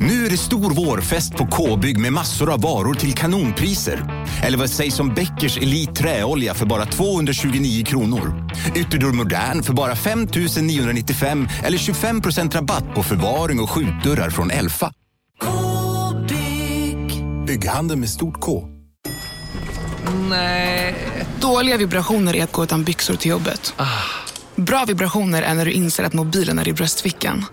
Nu är det stor vårfest på K-bygg med massor av varor till kanonpriser. Eller vad sägs om Bäckers Elite Träolja för bara 229 kronor? Ytterdörr Modern för bara 5 995 eller 25 rabatt på förvaring och skjutdörrar från Elfa. K-bygg. Bygghandeln med stort K. Nej. Dåliga vibrationer är att gå utan byxor till jobbet. Bra vibrationer är när du inser att mobilen är i bröstfickan.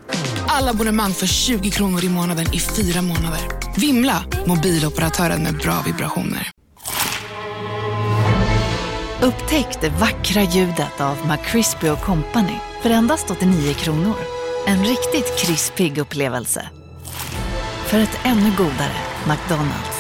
Alla abonnemang för 20 kronor i månaden i fyra månader. Vimla! Mobiloperatören med bra vibrationer. Upptäck det vackra ljudet av McCrispy Company för endast 89 kronor. En riktigt krispig upplevelse. För ett ännu godare McDonalds.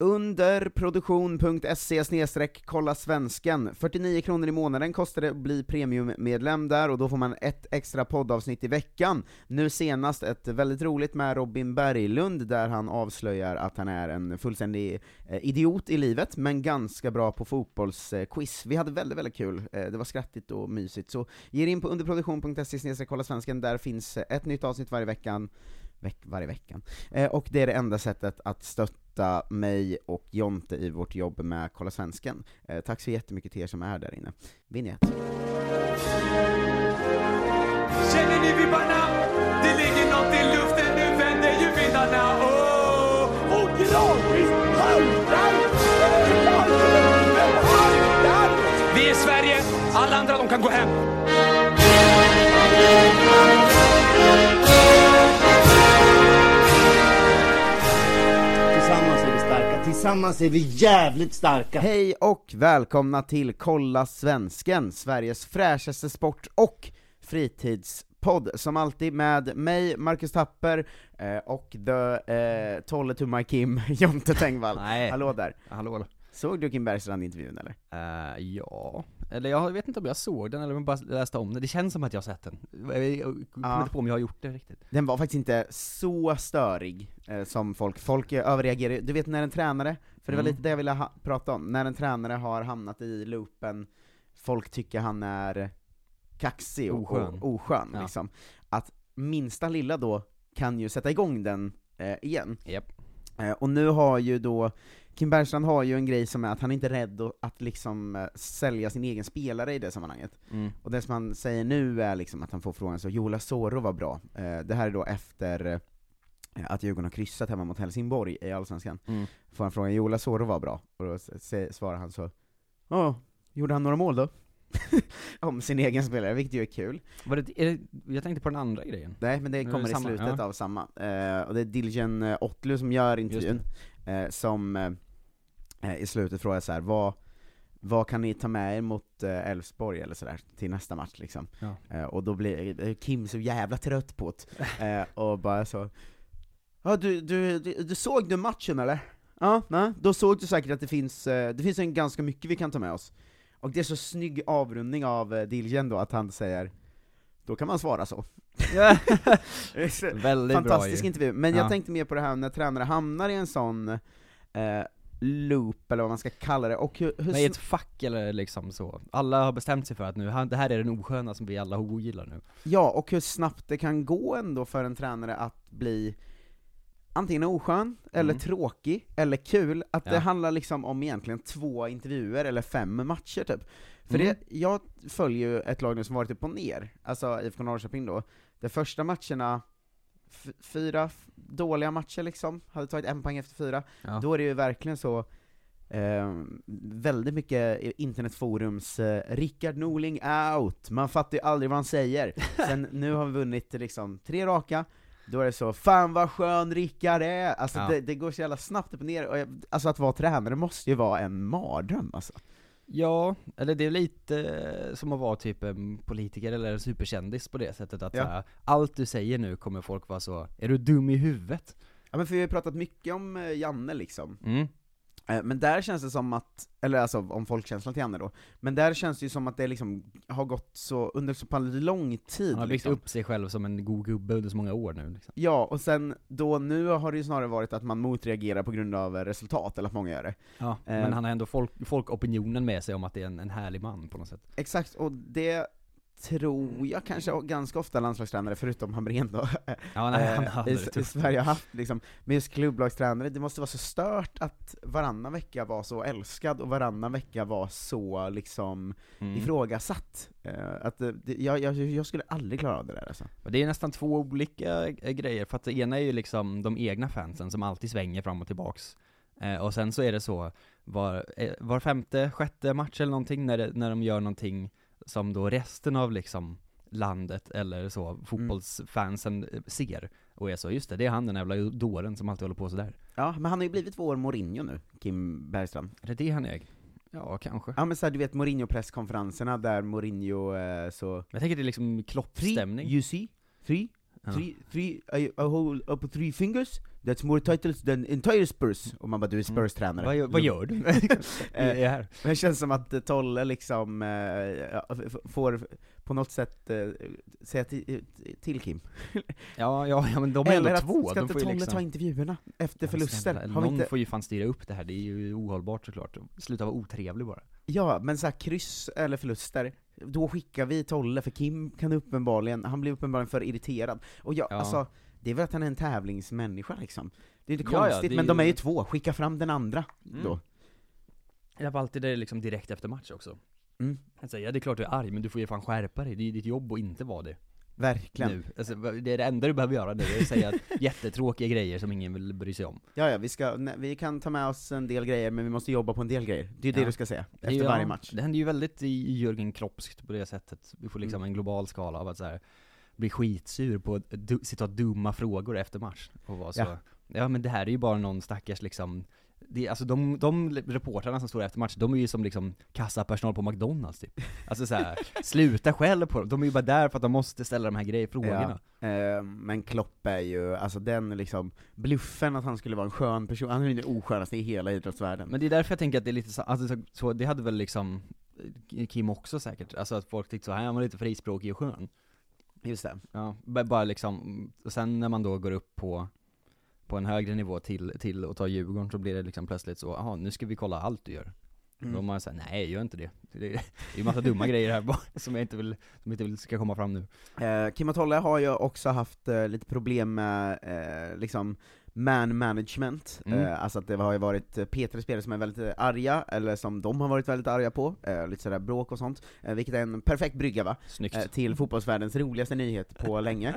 Under produktion.se E kolla svensken. 49 kronor i månaden kostar det att bli premiummedlem där och då får man ett extra poddavsnitt i veckan. Nu senast ett väldigt roligt med Robin Berglund där han avslöjar att han är en fullständig eh, idiot i livet, men ganska bra på fotbollsquiz. Vi hade väldigt, väldigt kul. Eh, Det var skrattigt och mysigt. Så ge er in på underproduktion.se E kolla svensken. Där finns eh, ett nytt avsnitt varje veckan veck, varje veckan. Eh, och det är det enda sättet att stötta mig och Jonte i vårt jobb med Kolla Svensken. Eh, tack så jättemycket till er som är där inne. Vinjett. Känner ni vibbarna? Det ligger något i luften, nu vänder ju vindarna. Åh, och Granqvist haltar! Granqvist haltar! Vi är Sverige, alla andra de kan gå hem. Tillsammans är vi starka, tillsammans är vi jävligt starka! Hej och välkomna till Kolla Svensken, Sveriges fräschaste sport och fritidspodd. Som alltid med mig, Marcus Tapper, eh, och the eh, Tolle to my Kim, Jonte Tengvall. Nej. Hallå där. Hallå. Såg du Kim Bergstrand-intervjun eller? Eh, ja, eller jag vet inte om jag såg den eller om jag bara läste om den. Det känns som att jag har sett den. Jag kommer Ja. inte på om jag har gjort det riktigt. Den var faktiskt inte så störig eh, som folk, folk eh, överreagerar Du vet när en tränare, för det var Mm. lite det jag ville ha- prata om, när en tränare har hamnat i loopen, folk tycker han är kaxig och Oskön. oskön, och, oskön Ja. liksom. Att minsta lilla då kan ju sätta igång den eh, igen. Japp. Eh, och nu har ju då, Kim Bergstrand har ju en grej som är att han inte är rädd att- att liksom eh, sälja sin egen spelare i det sammanhanget. Mm. Och det som han säger nu är liksom att han får frågan så, Jola Soro var bra. Eh, det här är då efter eh, att Djurgården har kryssat hemma mot Helsingborg i Allsvenskan. Mm. Får han frågan, Jola Soro var bra? Och då s- se- svarar han så, ja, gjorde han några mål då? Om sin egen spelare, vilket ju är kul. Var det, är det, jag tänkte på den andra grejen. Nej, men det det kommer i samma, slutet ja. av samma. Eh, och det är Dilgen eh, Otlu som gör intervjun, eh, som eh, i slutet frågar så här, vad, vad kan ni ta med er mot eh, Elfsborg eller sådär, till nästa match liksom? Ja. Eh, och då blir eh, Kim så jävla trött på det, eh, och bara så Ja du, du, du, du såg du matchen eller? Ja, nej, då såg du säkert att det finns, eh, det finns en ganska mycket vi kan ta med oss. Och det är så snygg avrundning av eh, Dilgen då, att han säger Då kan man svara så. Det är så- Väldigt Fantastisk bra ju. intervju, men jag Ja. tänkte mer på det här när tränare hamnar i en sån eh, loop, eller vad man ska kalla det, och hur, hur Nej, sn- ett fack eller liksom så. Alla har bestämt sig för att nu, han- det här är den osköna som vi alla ogillar nu. Ja, och hur snabbt det kan gå ändå för en tränare att bli antingen oskön, eller Mm. tråkig, eller kul. Att det Ja. handlar liksom om egentligen två intervjuer, eller fem matcher typ. För Mm. det, jag följer ju ett lag nu som varit upp och ner, alltså IFK Norrköping då. De första matcherna, f- fyra f- dåliga matcher liksom, hade tagit en poäng efter fyra. Ja. Då är det ju verkligen så, eh, väldigt mycket i- internetforums eh, 'Rickard Norling out' Man fattar ju aldrig vad han säger. Sen nu har vi vunnit liksom tre raka, då är det så 'Fan vad skön Rickard är!' Alltså Ja. det, det går så jävla snabbt upp och ner, och jag, alltså att vara tränare måste ju vara en mardröm alltså. Ja, eller det är lite eh, som att vara typ en politiker eller en superkändis på det sättet att Ja. såhär, allt du säger nu kommer folk vara så, är du dum i huvudet? Ja men för vi har ju pratat mycket om eh, Janne liksom, Mm. Eh, Men där känns det som att, eller alltså om folkkänslan till Janne då, men där känns det ju som att det liksom har gått så, under så pass lång tid Han har byggt liksom. upp sig själv som en god gubbe under så många år nu liksom. Ja, och sen då nu har det ju snarare varit att man motreagerar på grund av eh, resultat, eller att många gör det. Ja, Eh. men han har ändå folk, folkopinionen med sig om att det är en, en härlig man på något sätt. Exakt, och det tror jag kanske ganska ofta landslagstränare, förutom Hamrén då, Ja, nej, han eh, hade i, det i tufft. Sverige har haft liksom, men just klubblagstränare, det måste vara så stört att varannan vecka var så älskad och varannan vecka var så liksom Mm. ifrågasatt. Eh, att det, det, jag, jag, jag skulle aldrig klara av det där alltså. Och det är nästan två olika eh, grejer, för att det ena är ju liksom de egna fansen som alltid svänger fram och tillbaks. Eh, och sen så är det så, var, eh, var femte, sjätte match eller någonting, när, det, när de gör någonting som då resten av liksom landet eller så, fotbollsfansen eh, ser. Och är så, just det, det är han den jävla dåren som alltid håller på sådär. Ja, men han har ju blivit vår Mourinho nu, Kim Bergstrand. Är det det han är? Ja, kanske. Ja men såhär, du vet Mourinho-presskonferenserna där Mourinho eh, så... Jag tänker det är liksom kloppstämning. you see? Three? Ja. Three, three, I, I hold up three fingers, that's more titles than entire Spurs. Och man bara, du är Spurs-tränare. Mm. Vad, gör- vad gör du? Vi Eh, är här. Men det känns som att eh, Tolle liksom, eh, ja, f- får på något sätt eh, säga till, till Kim. Ja, ja, ja men de är ändå två, ska de inte får ju Tolle liksom... ta intervjuerna efter Ja, förluster? snälla, Har vi Någon inte... får ju fan styra upp det här, det är ju ohållbart såklart. Sluta vara otrevlig bara. Ja, men så här, kryss eller förluster, då skickar vi Tolle, för Kim kan uppenbarligen, han blir uppenbarligen för irriterad. Och jag, Ja. alltså, det är väl att han är en tävlingsmänniska liksom. Det är inte Ja, ja, konstigt, det är men de ju- Mm. är ju två, skicka fram den andra då. Jag var alltid där liksom direkt efter match också. Mm. Han säger ja det är klart du är arg, men du får ju fan skärpa dig, det är ju ditt jobb att inte vara det Verkligen. nu. Alltså, det är det enda du behöver göra nu, är att säga jättetråkiga grejer som ingen vill bry sig om. Ja, ja, vi, ska, nej, vi kan ta med oss en del grejer, men vi måste jobba på en del grejer. Det är det Ja. du ska säga, Det är ju- efter varje ja, match. Det händer ju väldigt i Jörgen Kloppskt på det sättet. Vi får liksom Mm. en global skala av att så här, bli skitsur på du, citat dumma frågor efter match. Och vara så, Ja. ja. men det här är ju bara någon stackars liksom det, alltså de, de reportrarna som står efter match, de är ju som liksom kassapersonal på McDonalds typ. Alltså såhär, sluta skäll på dem, de är ju bara där för att de måste ställa de här grejer, frågorna. Eh, men Klopp är ju, alltså den liksom, bluffen att han skulle vara en skön person, han är ju den oskönaste i hela idrottsvärlden. Men det är därför jag tänker att det är lite så, alltså, så- så, det hade väl liksom eh, Kim också säkert, alltså att folk tyckte så här han var lite frispråkig och skön. Just det. Ja, b- bara liksom, och sen när man då går upp på, på en högre nivå till, till och tar Djurgården så blir det liksom plötsligt så, jaha nu ska vi kolla allt du gör. Mm. Då har man såhär, nej gör inte det. Det är det är ju massa dumma grejer här bara, som jag inte vill, som jag inte vill ska komma fram nu. Eh, Kim och Tolle har ju också haft eh, lite problem med eh, liksom man management, Mm. eh, alltså att det har ju varit eh, Peter spelare som är väldigt eh, arga, eller som de har varit väldigt arga på, eh, lite sådär bråk och sånt, eh, vilket är en perfekt brygga va? Snyggt. eh, till fotbollsvärldens roligaste nyhet på länge.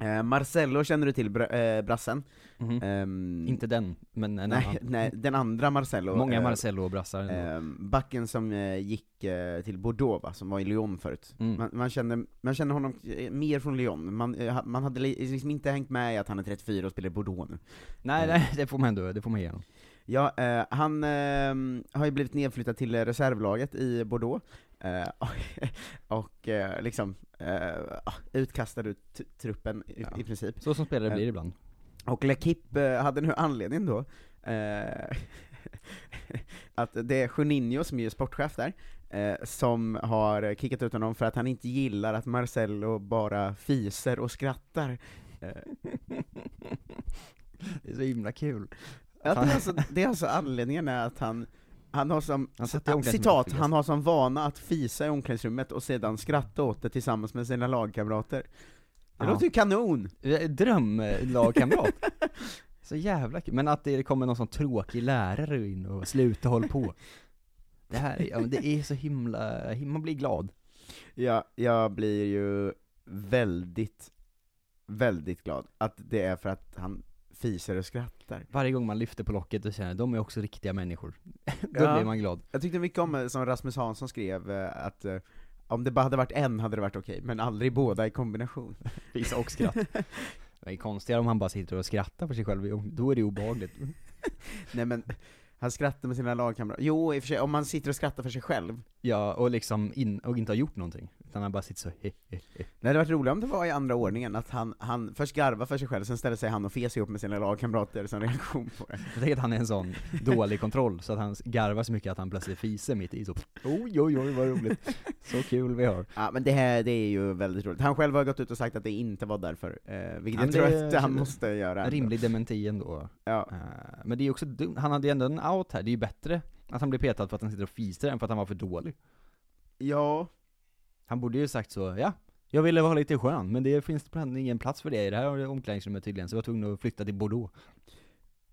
Eh, Marcello känner du till, br- eh, brassen. Mhm. Ehm, Inte den, men en nej, annan. nej, den andra Marcello. Många eh, Marcello och brassar ändå. ehm, backen som eh, gick eh, till Bordeaux va, som var i Lyon förut. Mm. Man, man, kände, man kände honom eh, mer från Lyon, man, eh, ha- man hade li- liksom inte hängt med i att han är 34 och spelar i Bordeaux nu. eh. Nej nej, det får man ändå, det får man ge honom. Ja, eh, han ehm, har ju blivit nedflyttad till eh, reservlaget i Bordeaux, eh, och, och eh, liksom eh, ah, utkastad ur t- truppen i, Ja. i princip. Så som spelare Eh. blir det ibland. Och Lekip hade nu anledning då, eh, att det är Juninho som är sportchef där, eh, som har kickat ut honom för att han inte gillar att Marcello bara fiser och skrattar. Det är så himla kul. Att det, är Fan. alltså, det är alltså anledningen är att han, han har som, Han satt i omklädningsrummet och citat, fes. han har som vana att fisa i omklädningsrummet och sedan skratta åt det tillsammans med sina lagkamrater. Det Ja. låter ju kanon! Eh, Drömlagkamrat. Så jävla kul. Men att det kommer någon sån tråkig lärare in och sluta håll på. Det här är, ja, men det är så himla, man blir glad. Jag, jag blir ju väldigt, väldigt glad att det är för att han fiser och skrattar. Varje gång man lyfter på locket och känner, de är också riktiga människor. Då Ja. blir man glad. Jag tyckte mycket om eh, som Rasmus Hansson skrev, eh, att eh, om det bara hade varit en hade det varit okej, men aldrig båda i kombination. Liksom, Fisa och skratt. Det är konstigare om han bara sitter och skrattar för sig själv, då är det obehagligt. Nej men, han skrattar med sina lagkamrater. Jo, i och för sig, om man sitter och skrattar för sig själv. Ja, och liksom in, och inte har gjort någonting. Utan utan han bara sitter så he, he, he. Det hade varit roligare om det var i andra ordningen, att han, han först garvar för sig själv, sen ställer sig han och fes ihop med sina lagkamrater som reaktion på det. Jag tänker att han är en sån dålig kontroll, så att han garvar så mycket att han plötsligt fiser mitt i så Oj oj oj vad roligt, så kul vi har Ja men det här, det är ju väldigt roligt. Han själv har gått ut och sagt att det inte var därför, eh, vilket Ja, jag men tror det- att han måste göra. En ändå. rimlig dementi ändå Ja. Eh, Men det är ju också dumt, han hade ju ändå en out här, det är ju bättre att han blir petad för att han sitter och fiser än för att han var för dålig ja. Han borde ju sagt så, ja jag ville vara lite skön, men det finns bland ingen plats för det i det här omklädningsrummet tydligen, så jag var tvungen att flytta till Bordeaux.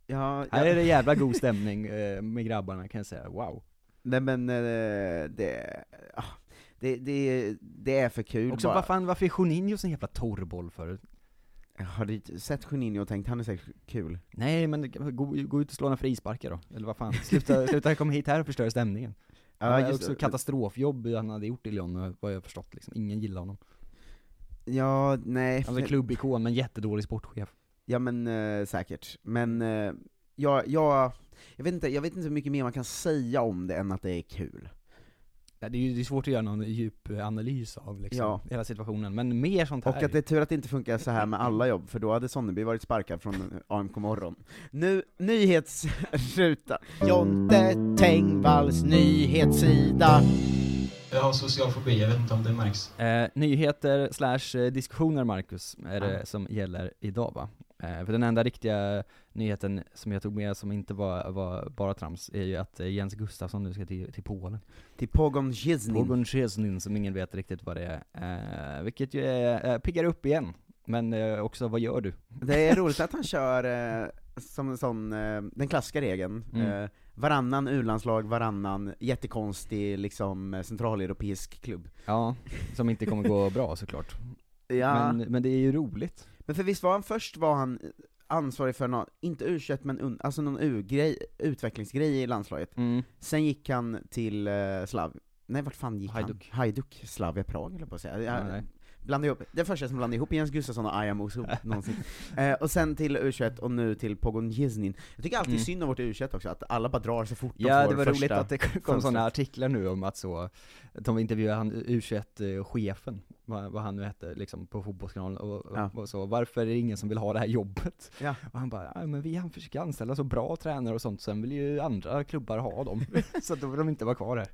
Ja, Här ja. är det jävla god stämning eh, med grabbarna kan jag säga, wow. Nej men, eh, det, ah, det, det, det är för kul Också bara. vad fan, varför är Juninho sån jävla torrboll för? Har du sett Juninho och tänkt han är säkert kul? Nej men gå, gå ut och slå några frisparkar då, eller vad fan. Sluta, sluta komma hit här och förstöra stämningen. Ja, det var just- också katastrofjobb han hade gjort i Lyon, vad jag har förstått liksom. Ingen gillar honom. Ja, nej. Han var klubbikon men jättedålig sportchef. Ja men eh, säkert. Men eh, jag, jag, jag, vet inte, jag vet inte hur mycket mer man kan säga om det än att det är kul. Ja, Det är ju det är svårt att göra någon djup analys av liksom, Ja. hela situationen, men mer sånt här. Och att det är tur att det inte funkar så här med alla jobb, för då hade Sonneby varit sparkad från AMK morgon. Nu, nyhetsruta. Jonte Tengvalls nyhetssida. Jag har social fobi, jag vet inte om det märks. Eh, nyheter slash eh, diskussioner Marcus, är det som gäller idag va? Eh, för den enda riktiga nyheten som jag tog med som inte var, var bara trams, är ju att eh, Jens Gustafsson nu ska till, till Polen. Till Pogon Jiznin. Pogon Szczesny, som ingen vet riktigt vad det är. Eh, vilket ju är, eh, piggar upp igen. Men eh, också, vad gör du? Det är roligt att han kör eh, som en sån, eh, den klassiska regeln, Mm. eh, varannan u-landslag, varannan jättekonstig liksom eh, centraleuropeisk klubb. Ja, som inte kommer gå bra såklart. Ja. Men, men det är ju roligt. Men för visst var han först var han ansvarig för någon, inte u men un, alltså någon U-grej, utvecklingsgrej i landslaget. Mm. Sen gick han till eh, Slav... Nej vart fan gick Hajduk. han? Hajduk, Slavia Prag eller på att säga. Ja, Jag, nej. blandade ihop, det första som blandade ihop Jens Gustafsson och Aya Moso någonsin. Eh, och sen till U21 och nu till Pogon Jiznin. Jag tycker alltid Mm. synd om vårt U21 också, att alla bara drar så fort de Ja, får det var första. roligt att det kom sådana fönstret. artiklar nu om att så, de intervjuade han U21-chefen, vad, vad han nu hette, liksom på fotbollskanalen och, Ja. och så, varför är det ingen som vill ha det här jobbet? Ja. Och han bara, "Ja, men vi han försöker anställa så bra tränare och sånt, sen vill ju andra klubbar ha dem, så att då vill de inte vara kvar här.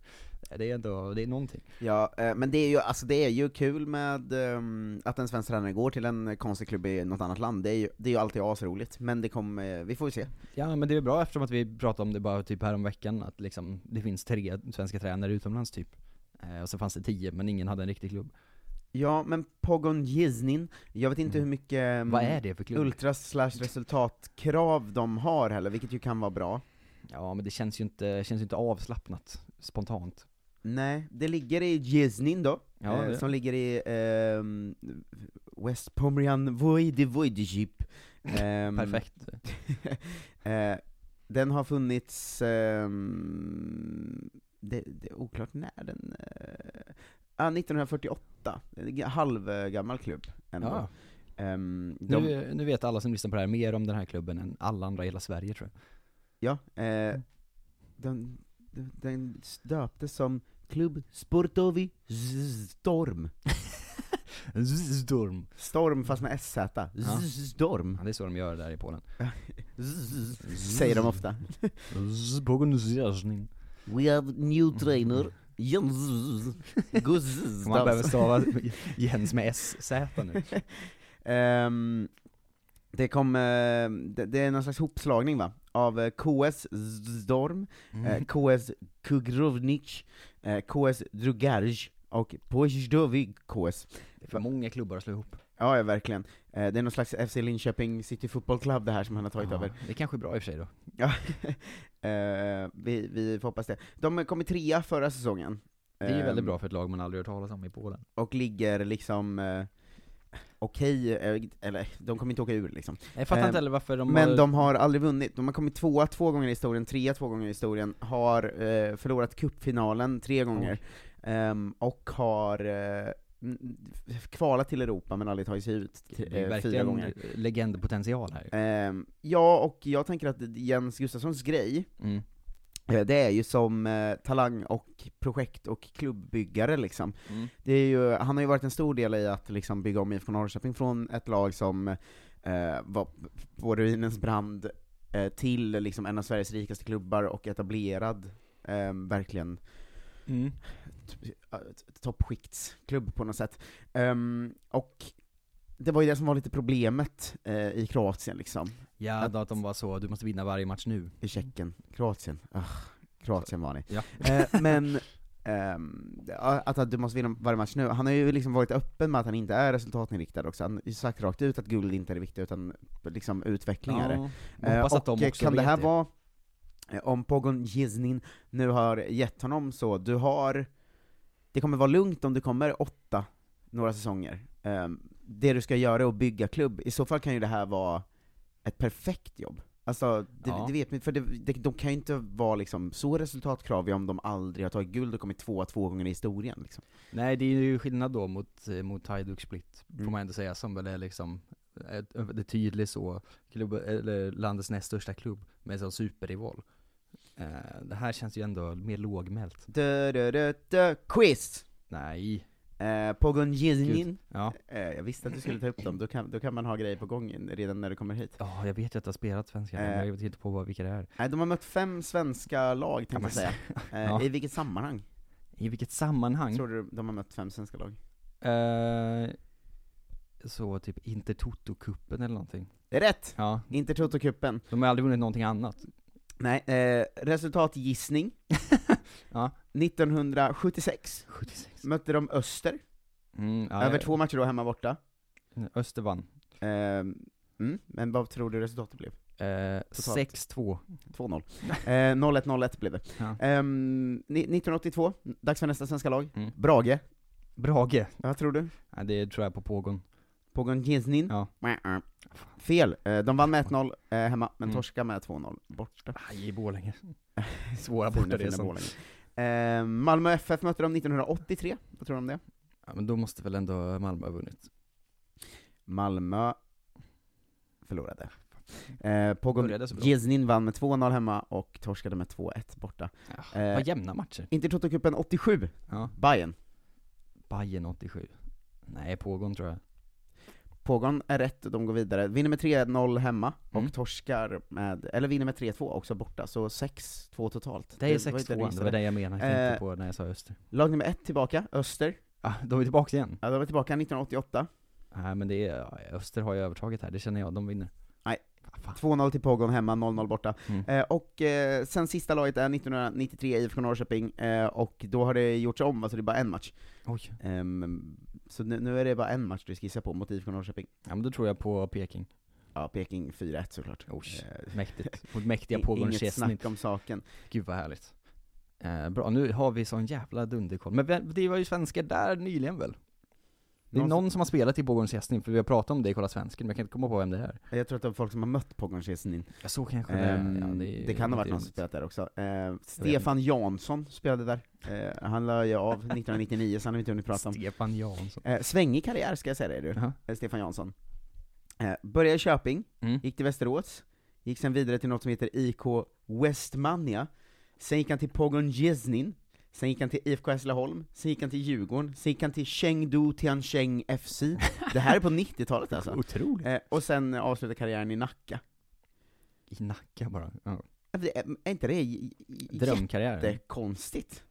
Det är ändå, det är någonting. Ja, eh, men det är ju, alltså det är ju kul med ehm, att en svensk tränare går till en konstig klubb i något annat land, det är ju, det är ju alltid asroligt, men det kommer, eh, vi får ju se. Ja men det är bra eftersom att vi pratade om det bara typ häromveckan, att liksom, det finns tre svenska tränare utomlands typ. Eh, Och så fanns det tio, men ingen hade en riktig klubb. Ja, men Pogon Jiznin, jag vet inte Mm. hur mycket ehm, Vad är det för klubb? ultras slash resultatkrav de har heller, vilket ju kan vara bra. Ja men det känns ju inte, känns ju inte avslappnat, spontant. Nej, det ligger i Jiznin då, Ja, eh, det- som ligger i ehm, West Pomerian Voivodeship. Ehm, Perfekt. Eh, den har funnits, ehm, det, det är oklart när den, eh, ah, 1948, en g- halvgammal klubb ändå. Ja. Ehm, de, Nu, nu vet alla som lyssnar på det här mer om den här klubben än alla andra i hela Sverige tror jag. ja eh, den, den- den döptes som Klubb Sportovi Z- Storm. Storm. Storm fast med SZ. Ja. Z- Storm, Ja, det är så de gör där i Polen. Z- säger de ofta. Bogunsjarznin. We have new trainer, Jens Kan man Gustafsson. behöver stava Jens med SZ nu? Ehm, det kom, eh, det, det är någon slags hopslagning va? Av eh, KS Zdorm, Mm. Mhm. eh, KS Kugrovnic, eh, KS Drugarj och Pozjdovi KS. Det är för många klubbar att slå ihop. Ja, ja verkligen. Eh, det är någon slags FC Linköping City Football Club det här som han har tagit Ja, över. Det är kanske är bra i och för sig då. Ja. eh, vi, vi får hoppas det. De kom i trea förra säsongen. Det är ju väldigt Ehm, bra för ett lag man aldrig hört talas om i Polen. Och ligger liksom eh, okej, eh, eller de kommer inte åka ur liksom. Jag fattar Ehm, inte heller varför de Men har... de har aldrig vunnit, de har kommit tvåa två gånger i historien, trea två gånger i historien, har eh, förlorat cupfinalen tre gånger, ehm, och har eh, n- kvalat till Europa men aldrig tagit sig ut det är ju eh, fyra verkligen gånger. legendpotential här. Ehm, ja, och jag tänker att Jens Gustafssons grej, Mm. Eh, Det är ju som eh, talang och projekt och klubbbyggare liksom. Mm. Det är ju, han har ju varit en stor del i att liksom bygga om IFK Norrköping från ett lag som eh, var på ruinens brand eh, till liksom en av Sveriges rikaste klubbar och etablerad, eh, verkligen Mm. t- eh, t- toppskiktsklubb på något sätt. Ehm, och det var ju det som var lite problemet eh, i Kroatien liksom, Ja, då att de var så, du måste vinna varje match nu. i Tjeckien, Kroatien, ah, Kroatien var ni. Ja. Eh, men ehm, att, att du måste vinna varje match nu, han har ju liksom varit öppen med att han inte är resultatinriktad också, han har ju sagt rakt ut att guld inte är det viktiga utan liksom utveckling är det. Jag hoppas Eh, att de eh, också kan det vet här vara, eh, om Pogon Jiznin nu har gett honom så, du har, det kommer vara lugnt om du kommer åtta några säsonger. Eh, det du ska göra är att bygga klubb, i så fall kan ju det här vara ett perfekt jobb. Alltså, det, Ja. det vet man för det, det, de kan ju inte vara liksom så resultatkraviga om de aldrig har tagit guld och kommit tvåa två gånger i historien. Liksom. Nej, det är ju skillnad då mot, eh, mot Hajduk Split, får Mm. man ändå säga, som väl är liksom ett, det är tydligt så, klubb, eller landets näst största klubb, med sån superrival. Eh, det här känns ju ändå mer lågmält. Dö, dö, dö, dö, quiz! Nej. Eh, Pogon Jiznin. Ja. Eh, jag visste att du skulle ta upp dem, då kan, då kan man ha grejer på gång in- redan när du kommer hit. Ja, jag vet ju att jag har spelat svenska, men Eh. jag vet inte på vad, vilka det är. Nej, de har mött fem svenska lag tänkte jag säga. Eh, Ja. Mm. I vilket sammanhang? I vilket sammanhang? Tror du de har mött fem svenska lag? Eh, så typ Intertoto-cupen eller någonting. Det är rätt! Ja, Intertoto-cupen. de har aldrig vunnit någonting annat. Nej, eh, resultatgissning. Ja. 1976 76. mötte de Öster, Mm, ja, över jag- två matcher då hemma borta. Öster vann. Eh, mm, men vad tror du resultatet blev? Eh, 6-2. 2-0. Eh, 0-1, 0-1 blev det. Ja. Ehm, ni- 1982, dags för nästa svenska lag. Mm. Brage, Brage. vad tror du? Nej, det tror jag på pågång. Mm. Pogon Kinsnin? Ja. Mäh. Fel, Eh, de vann med 1-0 eh, hemma, men Mm. torska med 2-0 borta. Aj, i Borlänge. Svåra Fina, borta det fina är sånt. Borlänge. Eh, Malmö FF mötte dem 1983, vad tror du om det? Ja, men då måste väl ändå Malmö ha vunnit. Malmö förlorade. Eh, Pogon Började så bra. Giznin vann med 2-0 hemma och torskade med 2-1 borta. Ja, Eh, vad jämna matcher. Intertoto-cupen 87, Ja. Bayern. Bayern 87. Nej, pågång tror jag. Pogon är rätt, de går vidare. Vinner med 3-0 hemma, Mm. och torskar med, eller vinner med 3-2 också borta, så 6-2 totalt. Det är var ju 6-2, du det gissade. var det jag menade, jag tänkte Eh. på när jag sa Öster. Lag nummer ett tillbaka, Öster. Ja, de är tillbaka igen. Ja, de var tillbaka 1988. Nej men det är, ja, Öster har ju övertaget här, det känner jag, de vinner. Nej. Ah, fan. 2-0 till Pogon hemma, 0-0 borta. Mm. Eh, och eh, sen sista laget är 1993 IFK Norrköping, eh, och då har det gjorts om, alltså det är bara en match. Oj. Ehm, så nu, nu är det bara en match du skissar på mot IFK Norrköping. Ja men då tror jag på Peking. Ja, Peking 4-1 såklart. Oj. Eh, Mäktigt. Mot mäktiga i- pågående Inget Chesney. snack om saken. Gud vad härligt. Eh, bra, nu har vi sån jävla dunderkoll. Men vem- det var ju svenskar där nyligen väl? Det är Någon- någon som har spelat i Pågårdens gästning, för vi har pratat om det i Kolla Svensken, men jag kan inte komma på vem det är. Jag tror att det är folk som har mött Pogon Chesnin. Ja, så kanske det Ehm, är. Ja, det, är- kan ha varit det är någon som roligt. spelat där också. Eh, Stefan Jansson spelade där. Eh, han la ju av 1999, så han har vi inte hunnit prata om. Stefan Jansson. Eh, svängig karriär ska jag säga dig du, Jaha. eh, Stefan Jansson. Eh, började i Köping, Mm. gick till Västerås, gick sen vidare till något som heter IK Westmania, sen gick han till Pogon Jeznin, sen gick han till IFK Hässleholm, sen gick han till Djurgården, sen gick han till Chengdu Tiancheng FC. Det här är på 90-talet alltså. Otroligt. Eh, och sen avslutade karriären i Nacka. I Nacka bara. Ja. Eh, det- Är, är inte det j- j- Drömkarriär. jättekonstigt?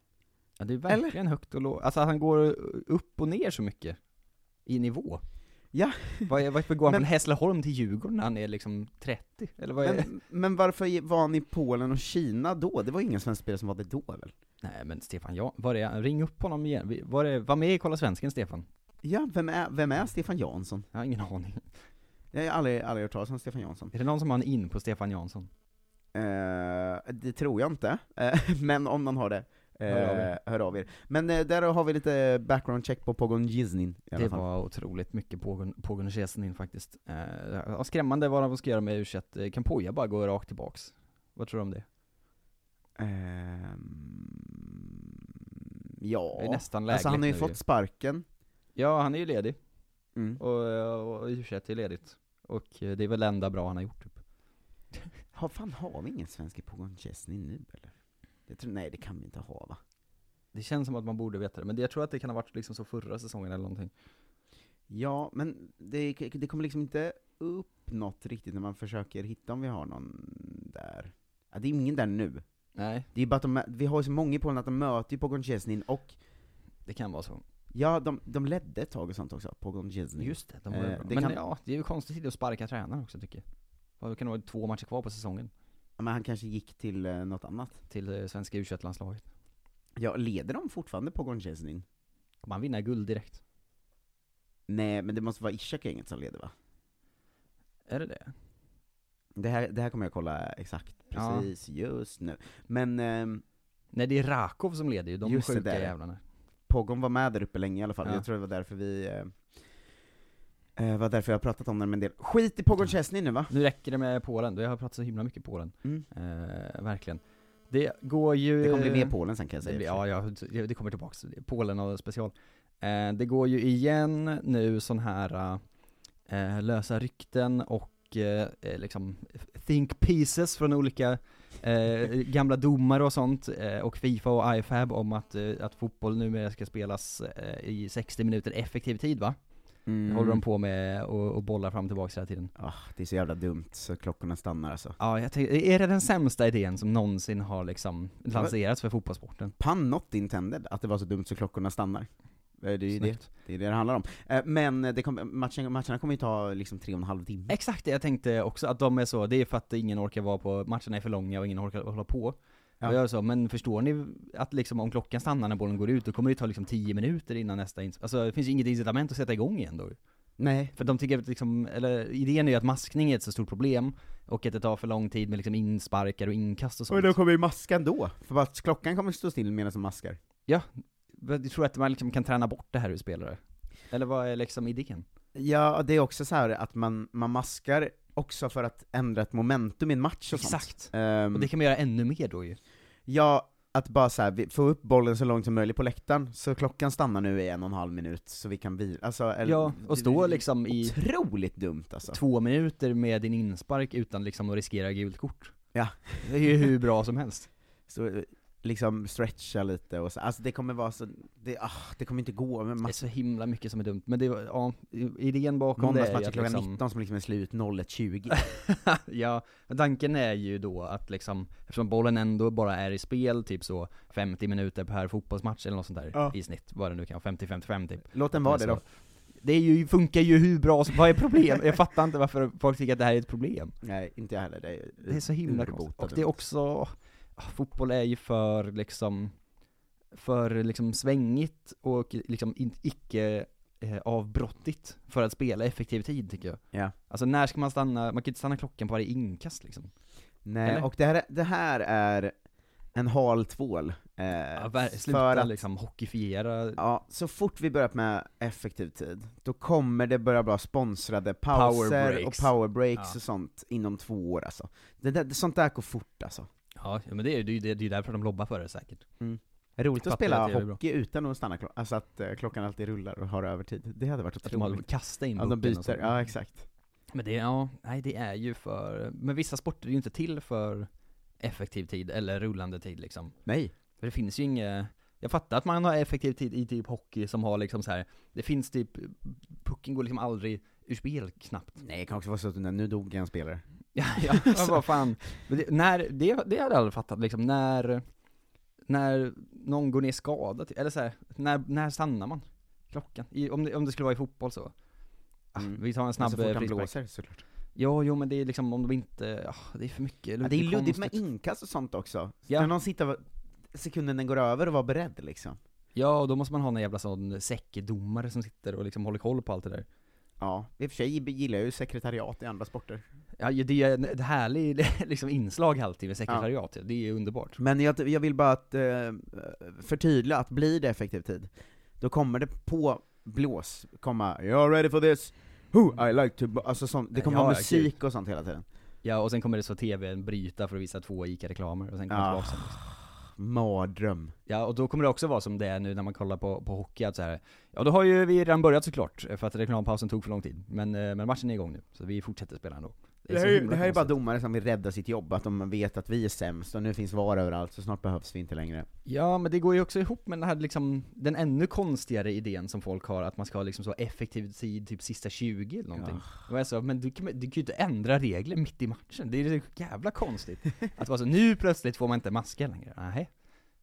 Ja, det är verkligen högt och lågt. Alltså att han går upp och ner så mycket i nivå. Ja. Vad är- Varför går han Men- från Hässleholm till Djurgården när han är liksom 30? Eller vad är det? Men, men varför var han i Polen och Kina då? Det var ingen svensk spelare som var det då väl? Nej men Stefan, ja, var det, ring upp honom igen. Vi- Var det, var med i Kolla Svensken Stefan? Ja, vem är, vem är Stefan Jansson? Jag har ingen aning. Jag har aldrig, aldrig hört talas om Stefan Jansson. Är det någon som har en in på Stefan Jansson? Eh, det tror jag inte, Eh, men om någon har det, eh, Hör av hör, er. av er. Men eh, där har vi lite background check på Pogon Jiznin i alla Det fall. var otroligt mycket pågående pågående resan in faktiskt. Eh, ja, skrämmande vad de ska göra med u Kan Poja bara gå rakt tillbaks? Vad tror du om det? Ehm, ja, Det är nästan lägligt alltså han har ju nu fått sparken. Ja, han är ju ledig. Mm. Och, eh, och u är ledigt. Och eh, det är väl det enda bra han har gjort typ. Har fan har vi ingen svensk i Pogon Jiznin nu eller? Det tror, nej, det kan vi inte ha va? Det känns som att man borde veta det, men det- jag tror att det kan ha varit liksom så förra säsongen eller någonting. Ja, men det, det kommer liksom inte upp något riktigt när man försöker hitta om vi har någon där. Ja, det är ingen där nu. Nej, Det är bara att de, vi har ju så många i Polen att de möter ju Pogon Chesnin och, det kan vara så. ja, de, de ledde ett tag och sånt också, Pogon Chesnin. Just det, de var Eh, bra. det Men kan- ja, det är ju konstigt att sparka tränare också tycker jag. Vad kan det vara två matcher kvar på säsongen Ja, Men han kanske gick till eh, något annat. till eh, svenska u landslaget Ja, leder de fortfarande Pogon Chesnin? Kommer han vinna guld direkt? Nej, men det måste vara Ishak-gänget som leder va? Är det det? Det här, det här kommer jag kolla exakt, Ja. precis, just nu. Men ehm, Nej, det är Rakov som leder ju, de Just det sjuka där. jävlarna. Pogon var med där uppe länge i alla fall, Ja. jag tror det var därför vi eh, eh, var därför jag har pratat om den med en del. Skit i Pogon Chesney nu va? Nu räcker det med Polen, jag har pratat så himla mycket Polen. Mm. Eh, verkligen. Det går ju... Det kommer bli mer Polen sen kan jag Det säga. blir, ja, ja, det kommer tillbaks. Polen och special. Eh, det går ju igen nu sån här eh, lösa rykten och eh, eh, liksom think pieces från olika eh, gamla domare och sånt eh, och Fifa och IFAB om att, eh, att fotboll numera ska spelas eh, i 60 minuter effektiv tid va? Mm. Det håller de på med och, och bollar fram och tillbaka hela tiden. Ah, det är så jävla dumt så klockorna stannar alltså. Ja, jag tänkte, är det den sämsta idén som någonsin har liksom lanserats för fotbollssporten? Pan not intended, att det var så dumt så klockorna stannar. Eh, Det är ju det. Snyggt. det är det det handlar om. Eh, Men det kom, matchen, matcherna kommer ju ta liksom tre och en halv timme. Exakt det jag tänkte också, att de är så, det är för att ingen orkar vara på, matcherna är för långa och ingen orkar hålla på. Ja. Och jag är så, men förstår ni att liksom om klockan stannar när bollen går ut, då kommer det ta liksom 10 minuter innan nästa ins- Alltså det finns ju inget incitament att sätta igång igen då. Nej. För de tycker att liksom, eller idén är ju att maskning är ett så stort problem, och att det tar för lång tid med liksom insparkar och inkast och sånt. Och då kommer ju maska ändå, för bara att klockan kommer stå still medan de maskar. Men Jag tror att man liksom kan träna bort det här ur spelare. Eller vad är liksom idén? Ja, det är också så här att man, man maskar också för att ändra ett momentum i en match och sånt. Exakt. Ehm, Och det kan man göra ännu mer då ju. Ja, att bara så här, vi- få upp bollen så långt som möjligt på läktaren, så klockan stannar nu i en och en halv minut så vi kan vila. Alltså, eller- Ja, och stå det- det- liksom i Otroligt dumt alltså. två minuter med din inspark utan liksom att riskera gult kort. Ja. Det är ju hur bra som helst. Så, eh, liksom stretcha lite och så, alltså det kommer vara så, det, ah, det kommer inte gå med Det är mass- så himla mycket som är dumt, men det var, ja, idén bakom det är ju måndagsmatcher att klockan liksom, 19 som liksom är slut 01.20. ja, men tanken är ju då att liksom, eftersom bollen ändå bara är i spel typ så 50 minuter per fotbollsmatch eller något sånt där Ja. i snitt, vad det nu kan 50-55 typ. Låt den vara det Så- då. Det är ju, funkar ju hur bra som, vad är problem? Jag fattar inte varför folk tycker att det här är ett problem. Nej, inte jag heller. Det är, Det är så himla urbota konstigt. Och dumt. det är också, ah, fotboll är ju för liksom, för liksom svängigt och liksom in- icke eh, avbrottigt för att spela effektiv tid tycker jag. Ja. Alltså när ska man stanna, man kan inte stanna klockan på varje inkast liksom. Nej, Eller? och det här, det här är en hal tvål. Eh, ver- för sluta att, liksom hockeyfiera ja, så fort vi börjar med effektiv tid, då kommer det börja vara sponsrade pauser och breaks. power breaks Ja. och sånt inom två år alltså. Det där, sånt där går fort alltså. Ja, men det är ju det, är ju- det är ju därför de lobbar för det säkert. Det är roligt att Fattar spela att det är bra. hockey utan att stanna klockan, alltså att eh, klockan alltid rullar och har övertid. Det hade varit Att de har otroligt. kastat in Ja, de pucken och byter, sånt. ja exakt. Men det, ja, nej det är ju för, men vissa sporter är ju inte till för effektiv tid eller rullande tid liksom. Nej. För det finns ju inget, jag fattar att man har effektiv tid i typ hockey som har liksom så här. det finns typ, pucken går liksom aldrig ur spel knappt. Nej, det kan också vara så att nu dog en spelare. Ja, ja men alltså. vad fan. Men det, när, det, det hade jag aldrig fattat liksom, när, när någon går ner skadad, typ. eller så här, när, när stannar man? Klockan? I, om, det, om det skulle vara i fotboll så. Ah, Mm. Vi tar en snabb så fort eh, han frispark. blåser såklart. Ja, jo men det är liksom om de inte, ah, det är för mycket Ja, det är luddigt med konstigt. inkast och sånt också. Ja. När någon sitter och- sekunden den går över och var beredd liksom. Ja, och då måste man ha någon jävla sån säckdomare som sitter och liksom håller koll på allt det där. Ja, i och för sig gillar jag ju sekretariat i andra sporter. Ja, ju, det är en- ett härligt liksom, inslag alltid med sekretariat, det är ju underbart. Men jag, jag vill bara att, eh, förtydliga att blir det effektiv tid, då kommer det på blås komma 'You're ready for this' Who I like to bo-" Alltså sånt, det kommer Ja, vara ja, musik och sånt hela tiden. Ja, och sen kommer det så tvn bryta för att visa två ICA-reklamer och sen kommer Ah. det tillbaka sen. Mardröm. Ja, och då kommer det också vara som det är nu när man kollar på, på hockey, att så här, ja då har ju vi redan börjat såklart, för att reklampausen tog för lång tid. Men, eh, men matchen är igång nu, så vi fortsätter spela ändå. Det, så här, är- himla det här är bara konstigt. domare som vill rädda sitt jobb, att de vet att vi är sämst och nu finns VAR överallt så snart behövs vi inte längre. Ja, men det går ju också ihop med den här liksom, den ännu konstigare idén som folk har, att man ska ha liksom så effektiv tid, typ sista 20 eller någonting. Och jag sa, men du, kan- du kan ju inte ändra regler mitt i matchen, det är ju så jävla konstigt. Att vara så, nu plötsligt får man inte maska längre, nej.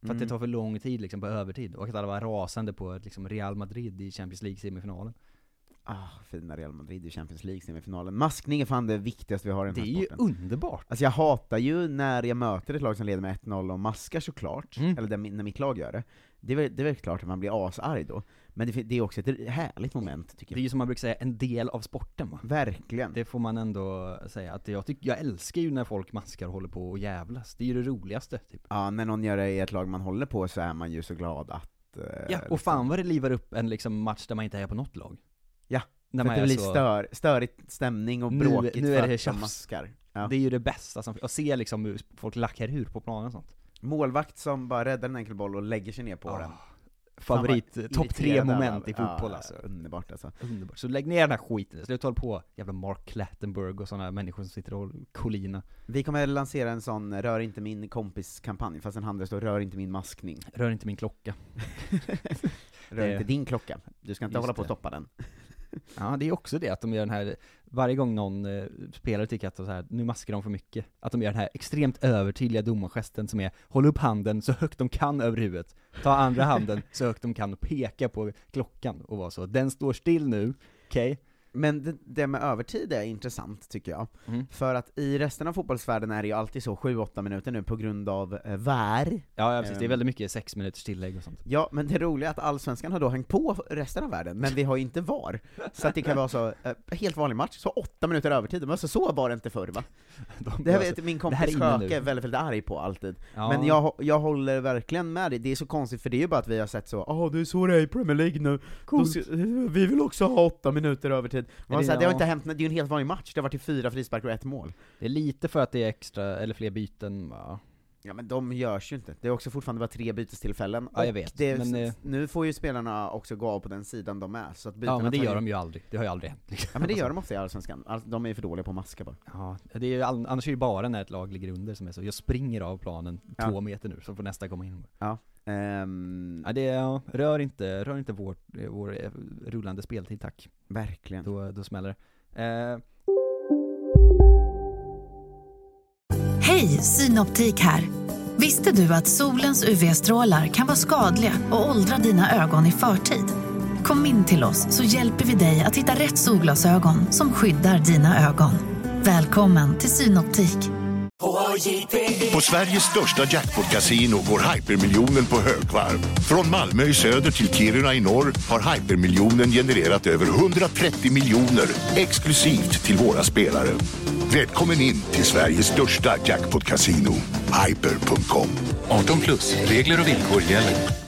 För att det tar för lång tid liksom på övertid, och att alla var rasande på liksom Real Madrid i Champions League semifinalen. Ah, fina Real Madrid i Champions League semifinalen. Maskning är fan det viktigaste vi har i Det den här är ju sporten. underbart! Alltså jag hatar ju när jag möter ett lag som leder med 1-0 och maskar såklart, Mm. eller där, min- när mitt lag gör det. Det är, väl, det är väl klart att man blir asarg då, men det, fin- det är också ett härligt moment tycker Det är jag. ju som man brukar säga, en del av sporten va? Verkligen. Det får man ändå säga, att jag, tycker, jag älskar ju när folk maskar och håller på och jävlas, det är ju det roligaste typ. Ja, när någon gör det i ett lag man håller på så är man ju så glad att... eh, Ja, liksom- och fan vad det livar upp en liksom match där man inte är på något lag. Ja, när för man att det är blir så, stör, störigt stämning och Nu- bråkigt nu är för det att de tjafs. maskar. Ja. Det är ju det bästa som att se liksom hur folk lackar ur på planen och sånt. Målvakt som bara räddar en enkel boll och lägger sig ner på Ah, den. Favorit, Fan, vad topp tre irriterad moment i alla- fotboll ja, alltså. Underbart alltså. Underbart. Så lägg ner den här skiten, slut hålla på jävla Mark Clattenburg och sådana människor som sitter och kolina. Vi kommer lansera en sån 'Rör inte min kompis'-kampanj, fast den handlar står 'Rör inte min maskning' Rör inte min klocka. Rör Det- inte din klocka, du ska inte Just hålla på och det. stoppa den. Ja, det är också det att de gör den här, varje gång någon eh, spelare tycker att så här, nu maskar de för mycket, att de gör den här extremt övertydliga domargesten som är håll upp handen så högt de kan över huvudet, ta andra handen så högt de kan och peka på klockan och vara så, den står still nu, okej? Men det, det med övertid är intressant tycker jag. Mm. För att i resten av fotbollsvärlden är det ju alltid så 7-8 minuter nu på grund av eh, VAR. Ja, ja, precis, det är Ehm. väldigt mycket sex minuters tillägg och sånt. Ja, men det roliga är att allsvenskan har då hängt på resten av världen, men vi har ju inte VAR. Så att det kan vara så, eh, helt vanlig match, så åtta minuter övertid, men alltså så var det inte förr va? De Det här bara vet så- min det här är kompis inne nu. Sjöke är väldigt, väldigt arg på alltid. Ja. Men jag, hå- jag håller verkligen med dig, det är så konstigt för det är ju bara att vi har sett så Ja det är så det är i Premier League nu, Då ska, eh, vi vill också ha åtta minuter övertid det- det, så här, det har ja. inte hänt, det är ju en helt vanlig match, det har varit i fyra frisparkar och ett mål Det är lite för att det är extra, eller fler byten, ja. Ja men de görs ju inte, det är också fortfarande bara tre bytestillfällen Ja, jag Och vet, det, men, eh, Nu får ju spelarna också gå av på den sidan de är, så att bytena ja men det tar gör ju- de ju aldrig, det har ju aldrig hänt liksom. Ja men det gör de ofta i Allsvenskan, All- de är ju för dåliga på att maska bara Ja, det är ju, all- annars är det ju bara när ett lag ligger under som är så, jag springer av planen Ja. två meter nu, så får nästa komma in. Ehm, Ja, det, ja, rör inte, rör inte vår, vår eh, rullande speltid tack, Verkligen då, då smäller det. Eh, Hej, Synoptik här. Visste du att solens UV-strålar kan vara skadliga och åldra dina ögon i förtid? Kom in till oss så hjälper vi dig att hitta rätt solglasögon som skyddar dina ögon. Välkommen till Synoptik. På Sveriges största jackpot-kasino går hypermiljonen på högvarv. Från Malmö i söder till Kiruna i norr har hypermiljonen genererat över 130 miljoner exklusivt till våra spelare. Välkommen in till Sveriges största jackpot-kasino, hyper.com. 18 plus. Regler och villkor gäller.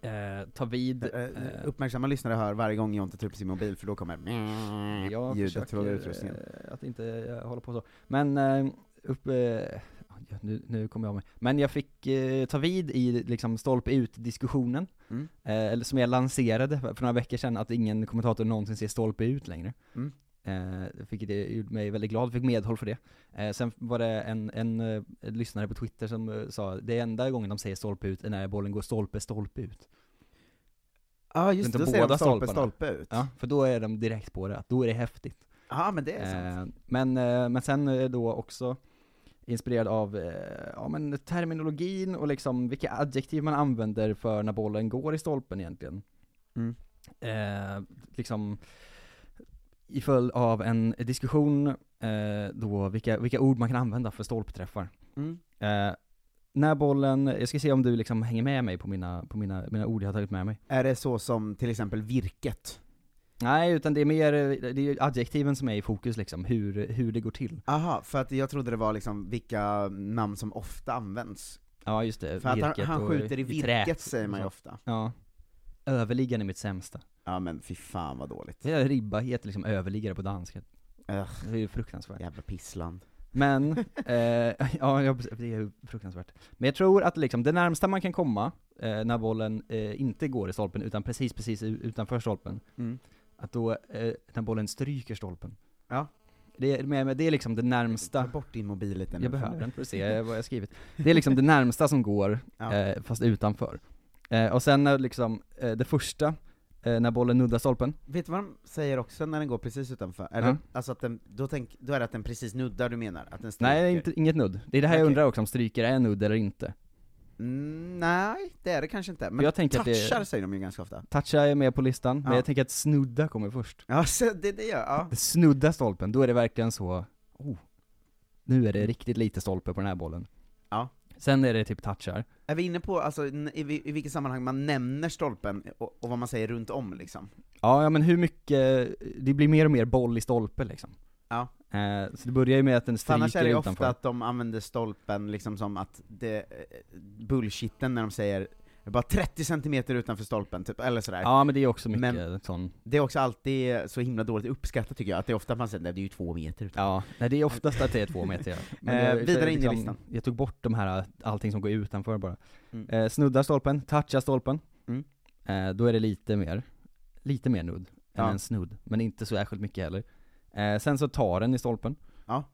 eh, tar vid... Eh, eh, Uppmärksamma lyssnare hör varje gång jag inte tar upp sin mobil för då kommer jag ljudet från försöker utrustningen. eh, att inte eh, hålla på så. Men, eh, upp... Eh, ja, nu, nu kommer jag av mig. Men jag fick eh, ta vid i liksom stolpe ut-diskussionen, Mm. eh, eller som jag lanserade för för några veckor sedan, att ingen kommentator någonsin ser stolpe ut längre. Mm. Eh, fick det gjorde mig väldigt glad, fick medhåll för det. Eh, sen var det en, en eh, lyssnare på Twitter som eh, sa det enda gången de säger stolpe ut är när bollen går stolpe, stolpe ut. Ja just Inte det, då ser båda de stolpe, stolparna. stolpe ut. Ja Ja, för då är de direkt på det, att då är det häftigt. men det är sant. Eh, men, eh, men sen eh, då också inspirerad av eh, ja, men terminologin och liksom vilka adjektiv man använder för när bollen går i stolpen egentligen. Mm. Eh, liksom i följd av en diskussion eh, då vilka, vilka ord man kan använda för stolpträffar. Mm. Eh, när bollen, jag ska se om du liksom hänger med mig på mina, på mina, mina ord jag har tagit med mig. Är det så som till exempel virket? Nej, utan det är mer, eh, det är ju adjektiven som är i fokus liksom, hur, hur det går till. Aha, för att jag trodde det var liksom vilka namn som ofta används. Ja just det, För att han, virket han och- skjuter i trät virket och säger man ju sånt. ofta. Ja. Överliggaren är mitt sämsta. Ja men fy fan vad dåligt. Ja, Ribba heter liksom överliggare på danska. Det är ju fruktansvärt. Jävla pissland. Men, eh, ja ja, precis. det är ju fruktansvärt. Men jag tror att liksom det närmsta man kan komma, eh, när bollen eh, inte går i stolpen utan precis, precis u- utanför stolpen, Mm. att då, eh, när bollen stryker stolpen. Ja. typ Det är, men det är liksom det närmsta. Ta bort din mobil lite nu. Jag behöver den för att se vad jag har skrivit. Det är liksom det närmsta som går, Ja. eh, fast utanför. Eh, och sen när liksom, eh, det första, eh, när bollen nuddar stolpen, Vet du vad de säger också när den går precis utanför? Är det, Ja. Alltså att den, då, tänk, då är det att den precis nuddar du menar? Att den nej stryker? inte, inget nudd. Det är det här jag Okej. undrar också, om stryker är nudd eller inte. Mm, nej, det är det kanske inte. Men jag tänker att det- touchar säger de ju ganska ofta. Toucha är med på listan, men Ja. jag tänker att snudda kommer först. Ja, så det, det gör, ja. Det Snudda stolpen, då är det verkligen så, oh, nu är det riktigt lite stolpe på den här bollen. Mm. Ja. Sen är det typ touchar. Är vi inne på alltså, n- i, vi- i vilket sammanhang man nämner stolpen och, och vad man säger runt om liksom? Ja, ja men hur mycket, det blir mer och mer boll i stolpe liksom. Ja. Eh, så det börjar ju med att den För stryker annars är det ju utanför. ofta att de använder stolpen liksom som att det, eh, bullshitten när de säger bara 30 cm utanför stolpen, typ, eller sådär. Ja men det är också mycket Men- sån, Det är också alltid så himla dåligt uppskattat tycker jag, att det är ofta man säger "Nej, det är ju två meter utanför. ja, nej, det är oftast att det är två meter ja. Men Eh, jag- vidare jag in i listan. Jag tog bort de här, allting som går utanför bara. Mm. Eh, snuddar stolpen, touchar stolpen. Mm. Eh, då är det lite mer, lite mer nudd Ja. än en snudd, men inte så särskilt mycket heller. Eh, sen så tar den i stolpen. Ja.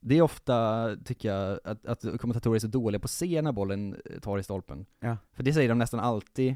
Det är ofta, tycker jag, att, att kommentatorer är så dåliga på att se när bollen eh, tar i stolpen. Ja. För det säger de nästan alltid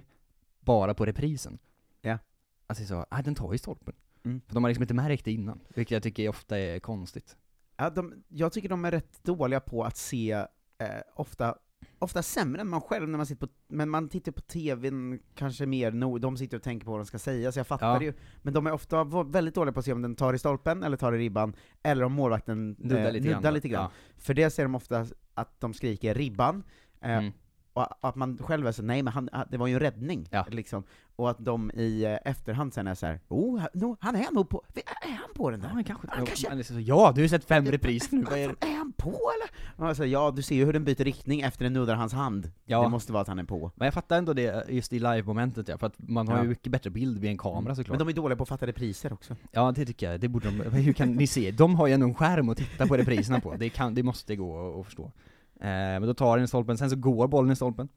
bara på reprisen. Ja. Att det är så, ah, den tar i stolpen. Mm. För de har liksom inte märkt det innan, vilket jag tycker ofta är konstigt. Ja, de, jag tycker de är rätt dåliga på att se, eh, ofta, ofta sämre än man själv när man sitter på, men man tittar på TVn kanske mer, no, de sitter och tänker på vad de ska säga, så jag fattar Ja. det ju. Men de är ofta va- väldigt dåliga på att se om den tar i stolpen, eller tar i ribban, eller om målvakten eh, Nudda lite grann. nuddar lite grann. För det ser de ofta att de skriker 'ribban' Ja. eh, Mm. och att man själv är så 'nej men han, ah, det var ju en räddning' Ja. liksom. Och att de i eh, efterhand sen är så här, 'oh, han- no, han är nog på, är han på den Ja, där?' men kanske, Ja, kanske- Men det är så, ja, du har ju sett fem repriser nu, vad är det? Är han på eller? Och jag sa, ja du ser ju hur den byter riktning efter den nuddar hans hand. Ja. Det måste vara att han är på. Men jag fattar ändå det just i live-momentet ja, för att man har Ja. Mm. ju mycket bättre bild vid en kamera såklart. Men de är dåliga på att fatta repriser också. Ja det tycker jag, det borde de, hur kan ni se? De har ju ändå en skärm att titta på repriserna på, det, kan, det måste gå att- att förstå. Eh, men då tar den i stolpen, sen så går bollen i stolpen.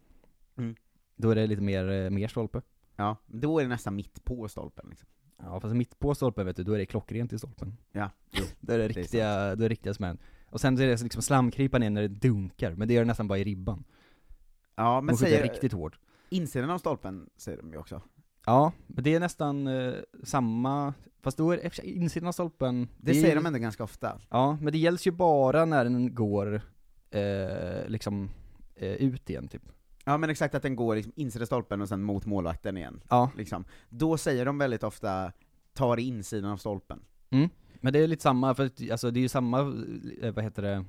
Mm. Då är det lite mer, eh, mer stolpe. Ja, då är det nästan mitt på stolpen liksom. Ja fast mitt på stolpen vet du, då är det klockrent i stolpen. Ja, jo, då är det det är riktiga, då är det riktiga smällen. Och sen så är det liksom slamkrypan in när det dunkar, men det gör det nästan bara i ribban. Ja, Men men De skjuter säger, riktigt hårt. insidan av stolpen säger de ju också. Ja, men det är nästan eh, samma, fast då är det i och för sig insidan av stolpen Det, är ju- säger de ändå ganska ofta. Ja, men det gälls ju bara när den går eh, liksom eh, ut igen typ. Ja men exakt, att den går liksom insidan av stolpen och sen mot målvakten igen. Ja, Liksom. Då säger de väldigt ofta, tar i insidan av stolpen. men det är lite samma, för att, alltså det är ju samma, eh, vad heter det,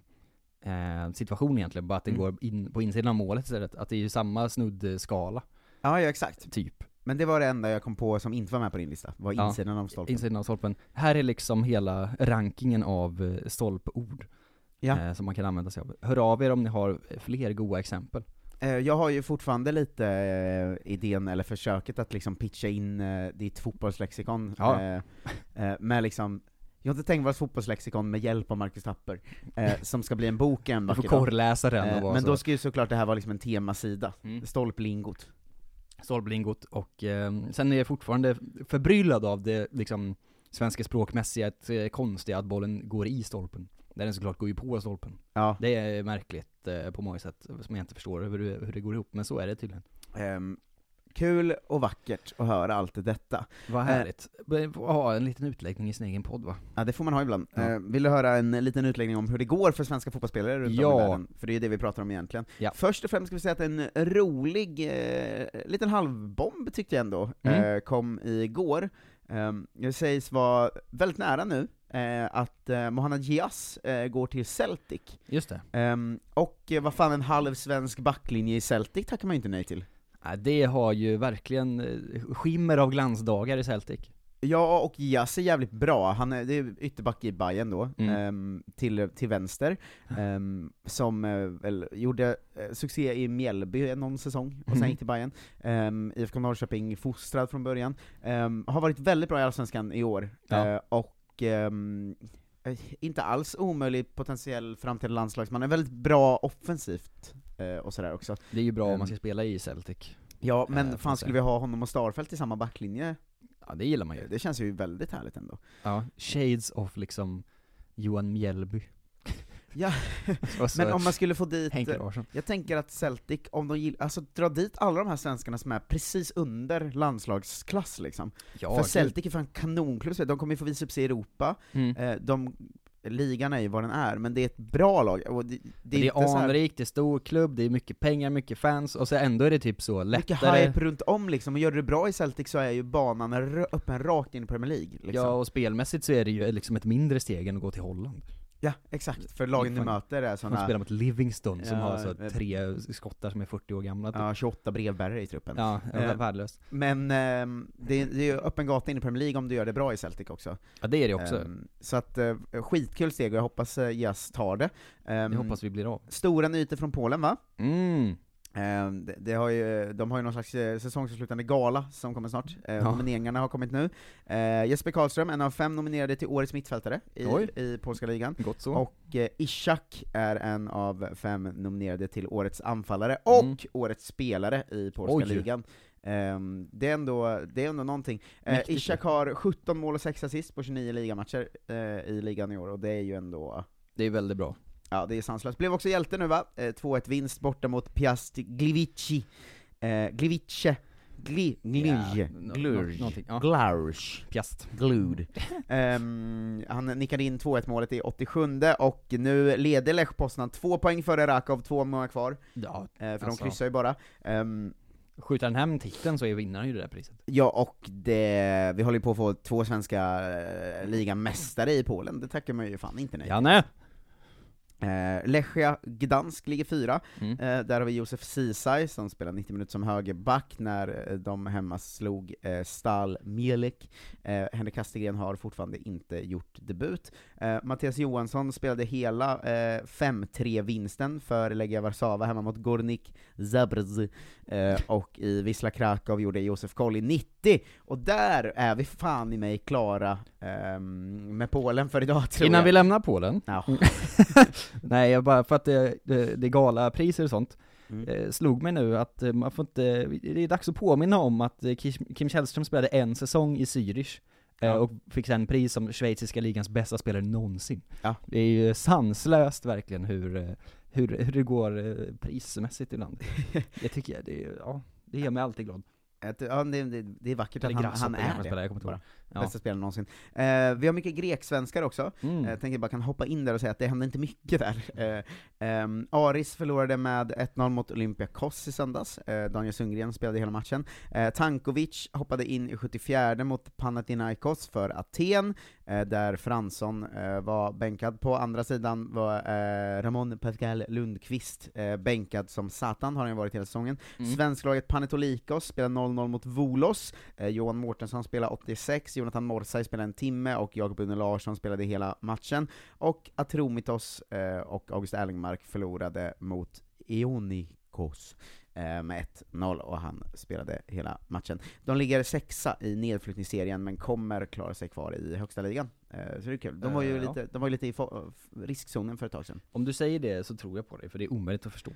eh, situation egentligen, bara att den Mm. går in, på insidan av målet istället. Att det är ju samma snuddskala, Ja, ja exakt. typ. Men det var det enda jag kom på som inte var med på din lista, var Ja. insidan av stolpen. Insidan av stolpen. Här är liksom hela rankingen av eh, stolpord. Ja. Eh, som man kan använda sig av. Hör av er om ni har fler goa exempel. Eh, Jag har ju fortfarande lite eh, idén, eller försöket att liksom pitcha in eh, ditt fotbollslexikon Ja. eh, eh, med liksom jag har inte tänkt vara ett fotbollslexikon med hjälp av Marcus Tapper, eh, som ska bli en bok en Du får vacker dag. korrläsa den och Eh, vara men så. då ska ju såklart det här vara liksom en temasida, Mm. stolplingot. Stolblingot och eh, sen är jag fortfarande förbryllad av det liksom svenska språkmässiga, att, eh, konstiga att bollen går i stolpen. Där den såklart går ju på stolpen. Ja. Det är märkligt eh, på många sätt, som jag inte förstår hur, hur det går ihop, men så är det tydligen. Ehm, kul och vackert att höra allt detta. Vad härligt. Eh. Ja, en liten utläggning i sin egen podd va? Ja, det får man ha ibland. Ja. Eh, vill du höra en liten utläggning om hur det går för svenska fotbollsspelare runt om Ja. i världen? För det är ju det vi pratar om egentligen. Ja. Först och främst ska vi säga att en rolig, eh, liten halvbomb tyckte jag ändå, Mm. eh, kom igår. Eh, det sägs vara väldigt nära nu, eh, att eh, Mohanad Diaz eh, går till Celtic. Just det. Eh, och eh, vad fan, en halv svensk backlinje i Celtic tackar man ju inte nej till. Ja, det har ju verkligen eh, skimmer av glansdagar i Celtic. Ja, och Jas är jävligt bra. Han är, det är ytterback i Bayern då, Mm. ehm, till, till vänster, ehm, som eh, väl gjorde eh, succé i Mjällby någon säsong, och sen Mm. gick till Bayern. Ehm, IFK Norrköping fostrad från början. Ehm, har varit väldigt bra i Allsvenskan i år, Ja. Eh, och ehm, eh, inte alls omöjlig potentiell framtida landslagsman, är väldigt bra offensivt eh, och sådär också. Det är ju bra om Ehm, man ska spela i Celtic. Ja, Eh, men får man fan skulle vi säga. ha honom och Starfelt i samma backlinje? Ja, det gillar man ju. Det känns ju väldigt härligt ändå. Ja, shades of liksom Johan Mjällby. Ja, Och så men om man skulle få dit... Henke Larsson. Jag tänker att Celtic, om de gillar, alltså dra dit alla de här svenskarna som är precis under landslagsklass liksom. Ja, För gud. Celtic är fan kanonklubb, de kommer ju få visa upp sig i Europa, Mm. Eh, de, ligan är ju vad den är, men det är ett bra lag. Och det, Det är, inte så här- anrikt, det är stor klubb, det är mycket pengar, mycket fans, och så ändå är det typ så mycket lättare... hype runt om liksom, och gör du det bra i Celtic så är ju banan r- öppen rakt in i Premier League. Liksom. Ja, och spelmässigt så är det ju liksom ett mindre steg än att gå till Holland. Ja, exakt. För lagen du Fan, möter är De sådana... spelar mot Livingston som Ja, har så eh, tre skottar som är 40 år gamla. typ. Ja, 28 brevbärare i truppen. Ja, ja, Eh, värdelöst. Men ehm, det, det är ju öppen gata in i Premier League om du gör det bra i Celtic också. Ja, det är det också. Ehm, så att, eh, skitkul steg och jag hoppas eh, Jas tar det. Ehm, Det hoppas vi blir av. Stora nyheter från Polen va? Mm. Ehm, det, det har ju, de har ju någon slags eh, säsongsavslutande gala som kommer snart, Ehm, Ja. nomineringarna har kommit nu. Eh, Jesper Karlström, en av fem nominerade till Årets mittfältare i, Oj. i polska ligan. Gott så. Och eh, Ishak är en av fem nominerade till Årets anfallare och Årets spelare i polska Mm. Oj. ligan. Ehm, det, är ändå, det är ändå någonting. Eh, Mäktigt. Ishak har 17 mål och 6 assist på 29 ligamatcher eh, i ligan i år, och det är ju ändå... Det är väldigt bra. Ja, det är sanslöst. Blev också hjälte nu va? Eh, 2-1 vinst borta mot Piast Gliwice. Eh, Gliwice. Gli, glurj. Ja, nå- nå- Glurj. någonting, ja. Glurj. Piast. Glud. Ehm, han nickade in 2-1 målet i 87 och nu leder Lech Poznan två poäng före Rakov, två omgångar kvar. Ja, Eh, för de alltså. kryssar ju bara. Ehm, Skjuter han hem titeln så är vinnaren ju det där priset. Ja, och det, vi håller ju på att få två svenska eh, ligamästare i Polen, det tackar man ju fan inte nej Janne! Eh, Lechia Gdansk ligger fyra, Mm. eh, där har vi Josef Ceesay som spelar 90 minuter som högerback när eh, de hemma slog eh, Stal Mielek. Eh, Henrik Kastegren har fortfarande inte gjort debut. Eh, Mattias Johansson spelade hela eh, 5-3-vinsten för Legia Warszawa hemma mot Gornik Zabrz, eh, och i Wisla Krakow gjorde Josef Kolli 90, och där är vi fan i mig klara ehm, med Polen för idag tror Innan jag. vi lämnar Polen. Ja. Nej, jag bara för att det, det, det är galapriser och sånt. Mm. Eh, slog mig nu att eh, man får inte, det är dags att påminna om att eh, Kim, Kim Källström spelade en säsong i Zürich. eh, Ja. Och fick sen pris som schweiziska ligans bästa spelare någonsin. Ja. Det är ju sanslöst verkligen hur, eh, hur, hur det går eh, prismässigt ibland. det tycker jag, det, är- ja, det gör mig alltid glad. Att, ja, det, det, det är vackert att Eller han, han Grasshopper är kanske det. spelade, jag kommer inte ihåg. bara. Ja. Bästa spelaren någonsin. Eh, vi har mycket greksvenskar också. Mm. Jag tänkte bara Eh. kan hoppa in där och säga att det hände inte mycket där. Eh, ehm, Aris förlorade med 1-0 mot Olympiakos i söndags. Eh, Daniel Sundgren spelade hela matchen. Eh, Tankovic hoppade in i 74 mot Panathinaikos för Aten, eh, där Fransson eh, var bänkad. På andra sidan var eh, Ramon Pascal Lundqvist eh, bänkad som satan, har han ju varit hela säsongen. Svensklaget Panetolikos spelar 0-0 mot Volos, eh, Johan Mårtensson spelar 86, Jonathan Morsay spelar en timme och Jakob Une Larsson spelade hela matchen. Och Atromitos eh, och August Erlingmark förlorade mot Ionikos eh, med 1-0 och han spelade hela matchen. De ligger sexa i nedflyttningsserien men kommer klara sig kvar i högsta ligan. Eh, så det är kul. De var ju Eh, ja. lite, de var ju lite i fa- riskzonen för ett tag sedan. Om du säger det så tror jag på dig, för det är omöjligt att förstå.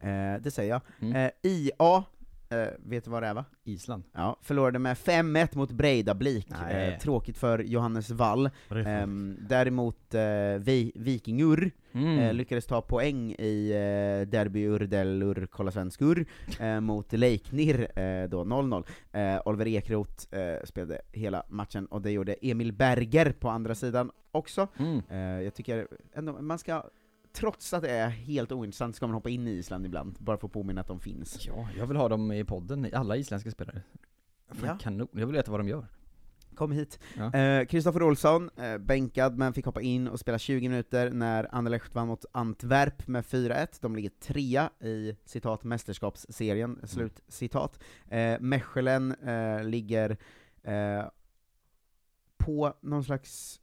Eh, det säger jag. Mm. Eh, IA, eh, vet du vad det är va? Island. Ja, förlorade med 5-1 mot Breidablik. Nej. Eh, tråkigt för Johannes Wall. Ehm, däremot eh, vi, Vikingur Mm. eh, lyckades ta poäng i eh, Derby Urdelur Kolasvenskur eh, mot Leiknir eh, då 0-0. Eh, Oliver Ekroth eh, spelade hela matchen, och det gjorde Emil Berger på andra sidan också. Mm. Eh, jag tycker ändå, man ska Trots att det är helt ointressant ska man hoppa in i Island ibland, bara för att påminna att de finns. Ja, jag vill ha dem i podden, alla isländska spelare. Fan, Ja. Kanon, jag vill veta vad de gör. Kom hit. Ja. Eh, Kristoffer Olsson, eh, bänkad men fick hoppa in och spela 20 minuter när Anderlecht vann mot Antwerp med 4-1. De ligger trea i citat mästerskapsserien, slut citat. Eh, Mechelen eh, ligger eh, på någon slags...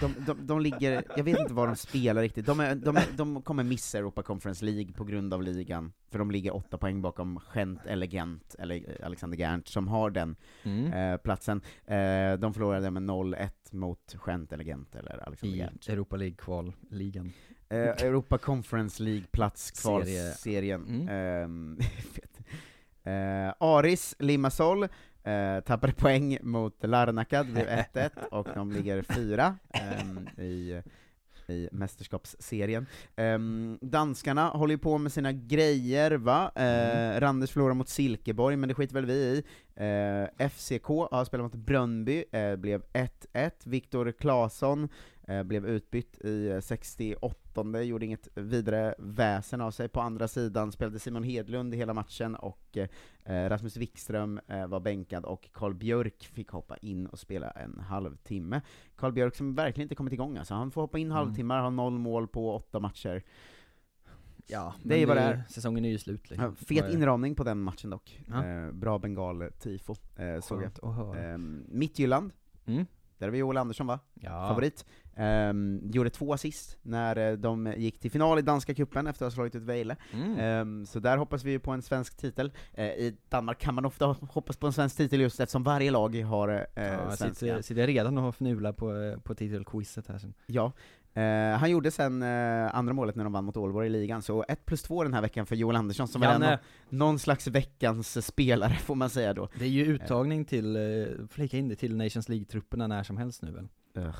De, de, de ligger, jag vet inte vad de spelar riktigt, de, är, de, är, de kommer missa Europa Conference League på grund av ligan, för de ligger åtta poäng bakom Gent Elegant, eller Alexander Gernt, som har den Mm. eh, platsen. Eh, de förlorade med 0-1 mot Gent Elegant, eller Alexander I Gernt. Europa League-kval-ligan. Eh, Europa Conference League-plats Serie. Mm. kvalserien. Ehm, fett. Eh, Aris Limassol eh, tappade poäng mot Larnaca, det blev 1-1, och de ligger fyra ehm, i, i mästerskapsserien. Ehm, danskarna håller ju på med sina grejer va, eh, Mm. Randers förlorar mot Silkeborg, men det skiter väl vi i. Eh, FCK har spelat mot Brönnby, eh, blev 1-1, Viktor Claesson eh, blev utbytt i eh, 68 gjorde inget vidare väsen av sig. På andra sidan spelade Simon Hedlund i hela matchen, och eh, Rasmus Wikström eh, var bänkad, och Carl Björk fick hoppa in och spela en halvtimme. Carl Björk som verkligen inte kommit igång alltså, han får hoppa in Mm. halvtimmar, har noll mål på åtta matcher. Ja, Det men är vad det är. Säsongen är ju slut Ja, liksom. fet Vad är- inramning på den matchen dock. Ja. Eh, bra bengal-tifo, eh, såg jag. Skönt att höra. Eh, Mittjylland, Mm. där har vi Joel Andersson va? Ja. Favorit. Ehm, gjorde två assist när eh, de gick till final i danska cupen efter att ha slagit ut Vejle. Mm. Ehm, så där hoppas vi ju på en svensk titel. Eh, I Danmark kan man ofta hoppas på en svensk titel just eftersom varje lag har eh, Ja, jag svenska. sitter, sitter redan och fnular på, eh, på titelquizet här sen. Ja. Eh, han gjorde sen eh, andra målet när de vann mot Aalborg i ligan, så 1 plus 2 den här veckan för Joel Andersson som Janne. är någon, någon slags veckans spelare får man säga då. Det är ju uttagning till, eh, flika in det till Nations League-trupperna när som helst nu väl? Ugh.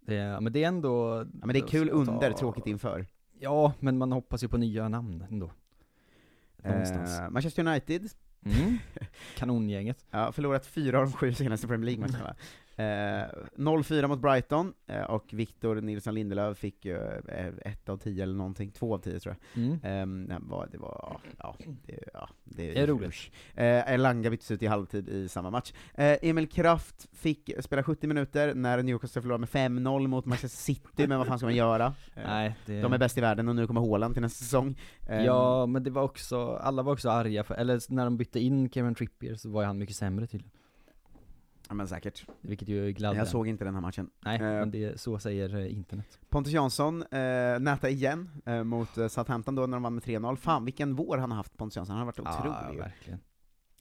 Det är, ja, men det är ändå... Ja, men det är kul under, tråkigt inför. Ja, men man hoppas ju på nya namn ändå. Någonstans. Eh, Manchester United, Mm. Kanongänget. Ja, förlorat fyra av de sju senaste Premier League-matcherna. Eh, 0-4 mot Brighton, eh, och Victor Nilsson Lindelöf fick ju eh, ett av tio eller någonting, två av tio tror jag. Mm. Ehm, nej, vad- det var, ja, det, ja, det, Det är roligt. usch. Eh, Elanga byttes ut i halvtid i samma match. Eh, Emil Kraft fick spela 70 minuter när Newcastle förlorade med 5-0 mot Manchester City, men vad fan ska man göra? Eh, Nej, det... De är bäst i världen och nu kommer Haaland till nästa säsong. Ehm, Ja, men det var också, alla var också arga för, eller när de bytte in Kevin Trippier så var ju han mycket sämre tydligen. ja, men säkert. Vilket ju gladde Jag en. såg inte den här matchen. Nej, eh, men det, så säger eh, internet. Pontus Jansson eh, näta igen eh, mot eh, Southampton då när de vann med 3-0. Fan vilken vår han har haft Pontus Jansson, han har varit Ja, otrolig. verkligen.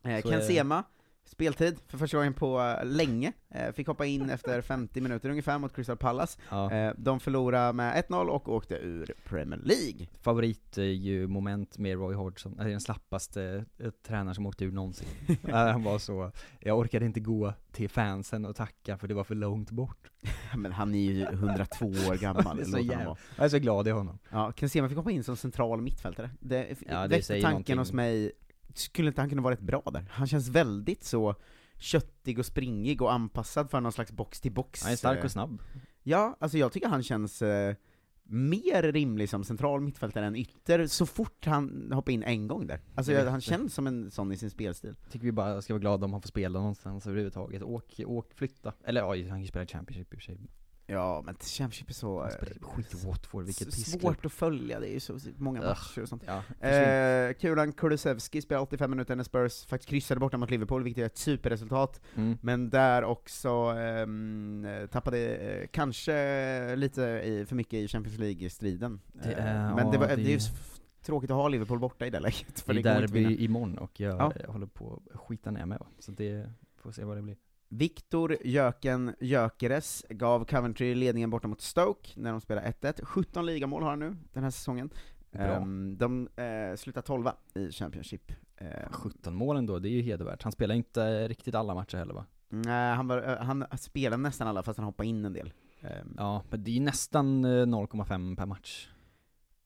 eh, Så Ken är det. Sema, speltid för första gången på eh, länge. Eh, fick hoppa in efter 50 minuter ungefär mot Crystal Palace. Ja. Eh, de förlorade med 1-0 och åkte ur Premier League. favorit är ju moment med Roy Hodgson, det är den slappaste eh, tränaren som åkt ur någonsin. Där han var så, jag orkade inte gå till fansen och tacka för det var för långt bort. Men han är ju 102 år Det gammal, är så låt honom jävla, vara. jag är så glad i honom. Ja, Ken Sema fick hoppa in som central mittfältare. Det, Ja, det väckte säger tanken någonting. hos mig, skulle inte han kunna varit bra där? Han känns väldigt så köttig och springig och anpassad för någon slags box till box. Han är stark och snabb. Ja, alltså jag tycker han känns eh, mer rimlig som central mittfältare än ytter, så fort han hoppar in en gång där. Alltså Jag jag, vet han inte. känns som en sån i sin spelstil. Tycker vi bara ska vara glada om han får spela någonstans överhuvudtaget. Åk, åk, flytta. Eller ja, han kan ju spela i Championship i och för sig. Ja, men Championship är så... Han eh, spelar i skit i Watford, vilket Äh, s- pissklubb. svårt att följa, det är ju så så många Ugh. matcher och sånt. Ja, försvinn. Eh, Kulan Kulusevski spelade 85 minuter när Spurs faktiskt kryssade borta mot Liverpool, vilket är ett superresultat. mm. Men där också ehm, tappade eh, kanske lite i, för mycket i Champions League-striden. Eh, Det är- Men ja, det, var, det- det är ju s- tråkigt att ha Liverpool borta i det läget, för Det det är går inte att vinna. derby imorgon och jag Ja. eh, håller på att skita ner mig va. Så det, får se vad det blir. Viktor Jöken Jökeres gav Coventry ledningen borta mot Stoke när de spelade 1-1. 17 ligamål har han nu den här säsongen. Bra. Ehm, de eh, slutar 12 i Championship. Ehm, 17 mål ändå, det är ju hedervärt. Han spelar inte riktigt alla matcher heller va? nej, han, var, eh, han spelade nästan alla fast han hoppade in en del. Ehm, Ja, men det är ju nästan eh, 0,5 per match.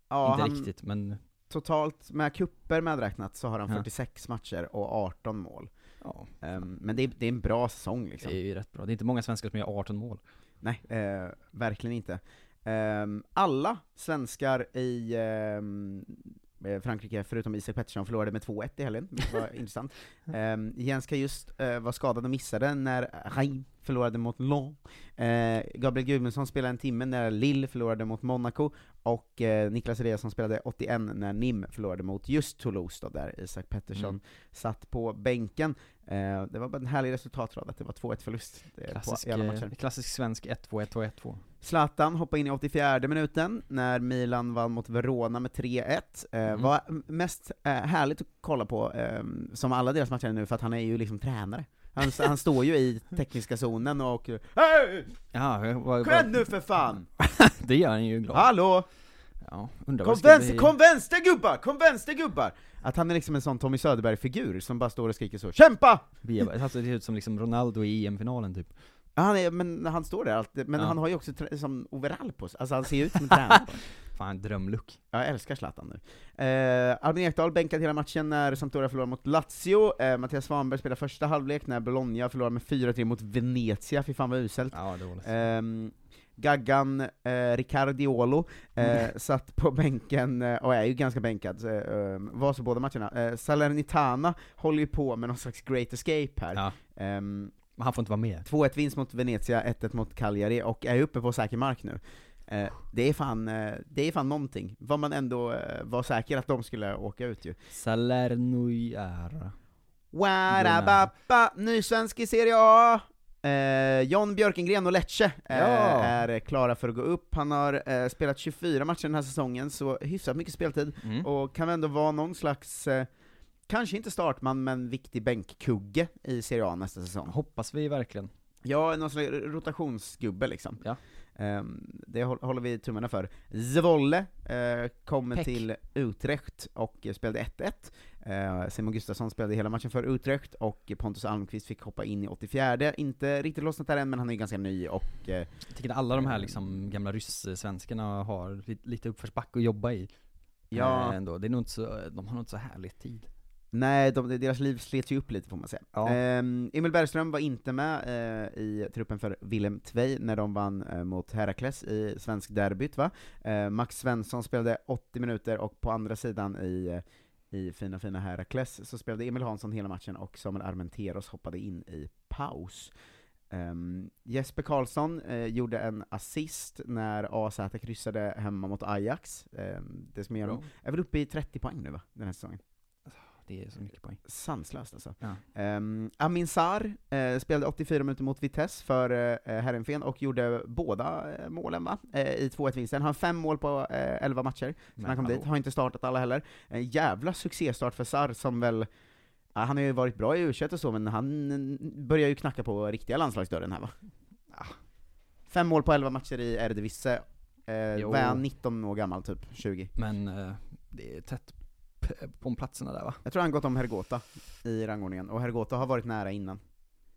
ja, inte han, riktigt, men Totalt med kupper medräknat så har han Ja. 46 matcher och 18 mål. ja, Ehm, men det är, det är en bra säsong det liksom. är ju rätt bra. Det är inte många svenskar som gör 18 mål. Nej, eh, verkligen inte. Ehm, alla svenskar i ehm, Eh, Frankrike, förutom Isak Pettersson, förlorade med 2-1 i helgen, vilket var intressant. Ehm, Jens Kajust eh, var skadad och missade när Reims förlorade mot Lyon. Eh, Gabriel Gudmundsson spelade en timme när Lille förlorade mot Monaco, och eh, Niklas Eliasson spelade 81 när NIM förlorade mot just Toulouse då, där Isak Pettersson Mm. satt på bänken. Eh, det var bara en härlig resultatrad, att det var 2-1 förlust eh, Klassisk, på i alla matcher. eh, klassisk svensk 1-2, 1-2, 1-2. Zlatan hoppade in i 84 minuten när Milan vann mot Verona med 3-1. Eh, Mm. Vad mest eh, härligt att kolla på, eh, som alla deras matcher är nu, för att han är ju liksom tränare. Han, han står ju i tekniska zonen och Hej! Ja, vad, Kom igen nu för fan! det gör han ju glad. Hallå! Ja, undrar Kom vad det ska vänster, bli. kom vänster gubbar! Kom vänster gubbar! Att han är liksom en sån Tommy Söderberg-figur som bara står och skriker så 'Kämpa!' Vi är- Alltså det ser ut som liksom Ronaldo i EM-finalen typ. Ja, Han är, men han står där alltid, men Ja. han har ju också trä- som overall på sig, alltså han ser ju ut som en tränare. Fan, drömlook. Jag älskar Zlatan nu. Eh, Albin Ekdal bänkade hela matchen när Sampdoria förlorade mot Lazio, eh, Mattias Svanberg spelade första halvlek när Bologna förlorade med 4-3 mot Venezia, fy fan vad uselt. Ja, dåligt. Ehm, Gaggan eh, Riccardiolo eh, satt på bänken, eh, och är ju ganska bänkad, eh, eh, var så båda matcherna. Eh, Salernitana håller ju på med någon slags great escape här. Ja. Ehm, Men han får inte vara med. 2-1 vinst mot Venezia, 1-1 mot Cagliari, och är uppe på säker mark nu. Eh, det, är fan, eh, det är fan någonting, vad man ändå eh, var säker att de skulle åka ut ju. Salernoiara. Warabappa, ny svensk i Serie A! Eh, John Björkengren och Lecce eh, Ja. är klara för att gå upp. Han har eh, spelat 24 matcher den här säsongen, så hyfsat mycket speltid, Mm. och kan ändå vara någon slags, eh, kanske inte startman, men viktig bänkkugge i Serie A nästa säsong. Hoppas vi verkligen. Ja, någon slags rotationsgubbe liksom. Ja. Ehm, det hå- håller vi tummarna för. Zwolle eh, kommer Peck. till Utrecht och eh, spelade 1-1. Eh, Simon Gustafsson spelade hela matchen för Utrecht, och Pontus Almqvist fick hoppa in i 84 Inte riktigt lossnat där än, men han är ju ganska ny och... Eh, Jag tycker att alla de här liksom gamla ryssvenskarna har li- lite uppförsbacke att jobba i. ja, Eh, Ändå. Det är nog inte så, de har nog inte så härlig tid. Eh, nej, de, deras liv slets ju upp lite får man säga. Ja. Ehm, Emil Bergström var inte med eh, i truppen för Willem Tvei när de vann eh, mot Herakles i svensk derbyt va? Eh, Max Svensson spelade 80 minuter och på andra sidan i, eh, i fina fina Herakles så spelade Emil Hansson hela matchen och Samuel Armenteros hoppade in i paus. Ehm, Jesper Karlsson eh, gjorde en assist när AZ kryssade hemma mot Ajax. Ehm, det som gör dem. Bra. Är väl uppe i 30 poäng nu va, den här säsongen? Det är så mycket poäng. Sanslöst alltså. Ja. Ehm, Amin Sarr eh, spelade 84 minuter mot Vitesse för eh, Herrenfen och gjorde båda eh, målen va? Eh, i 2-1-vinsten. Han har fem mål på eh, 11 matcher sen han kom hallå. dit, har inte startat alla heller. En jävla succéstart för Sarr som väl Ja, han har ju varit bra i u och så, men han eh, börjar ju knacka på riktiga landslagsdörren här va? Ah. Fem mål på 11 matcher i Eredivisie. Eh, Jo. vad är han, 19 år gammal typ? 20? Men eh, det är tätt p- på platserna där va? Jag tror han gått om Hergota i rangordningen, och Hergota har varit nära innan.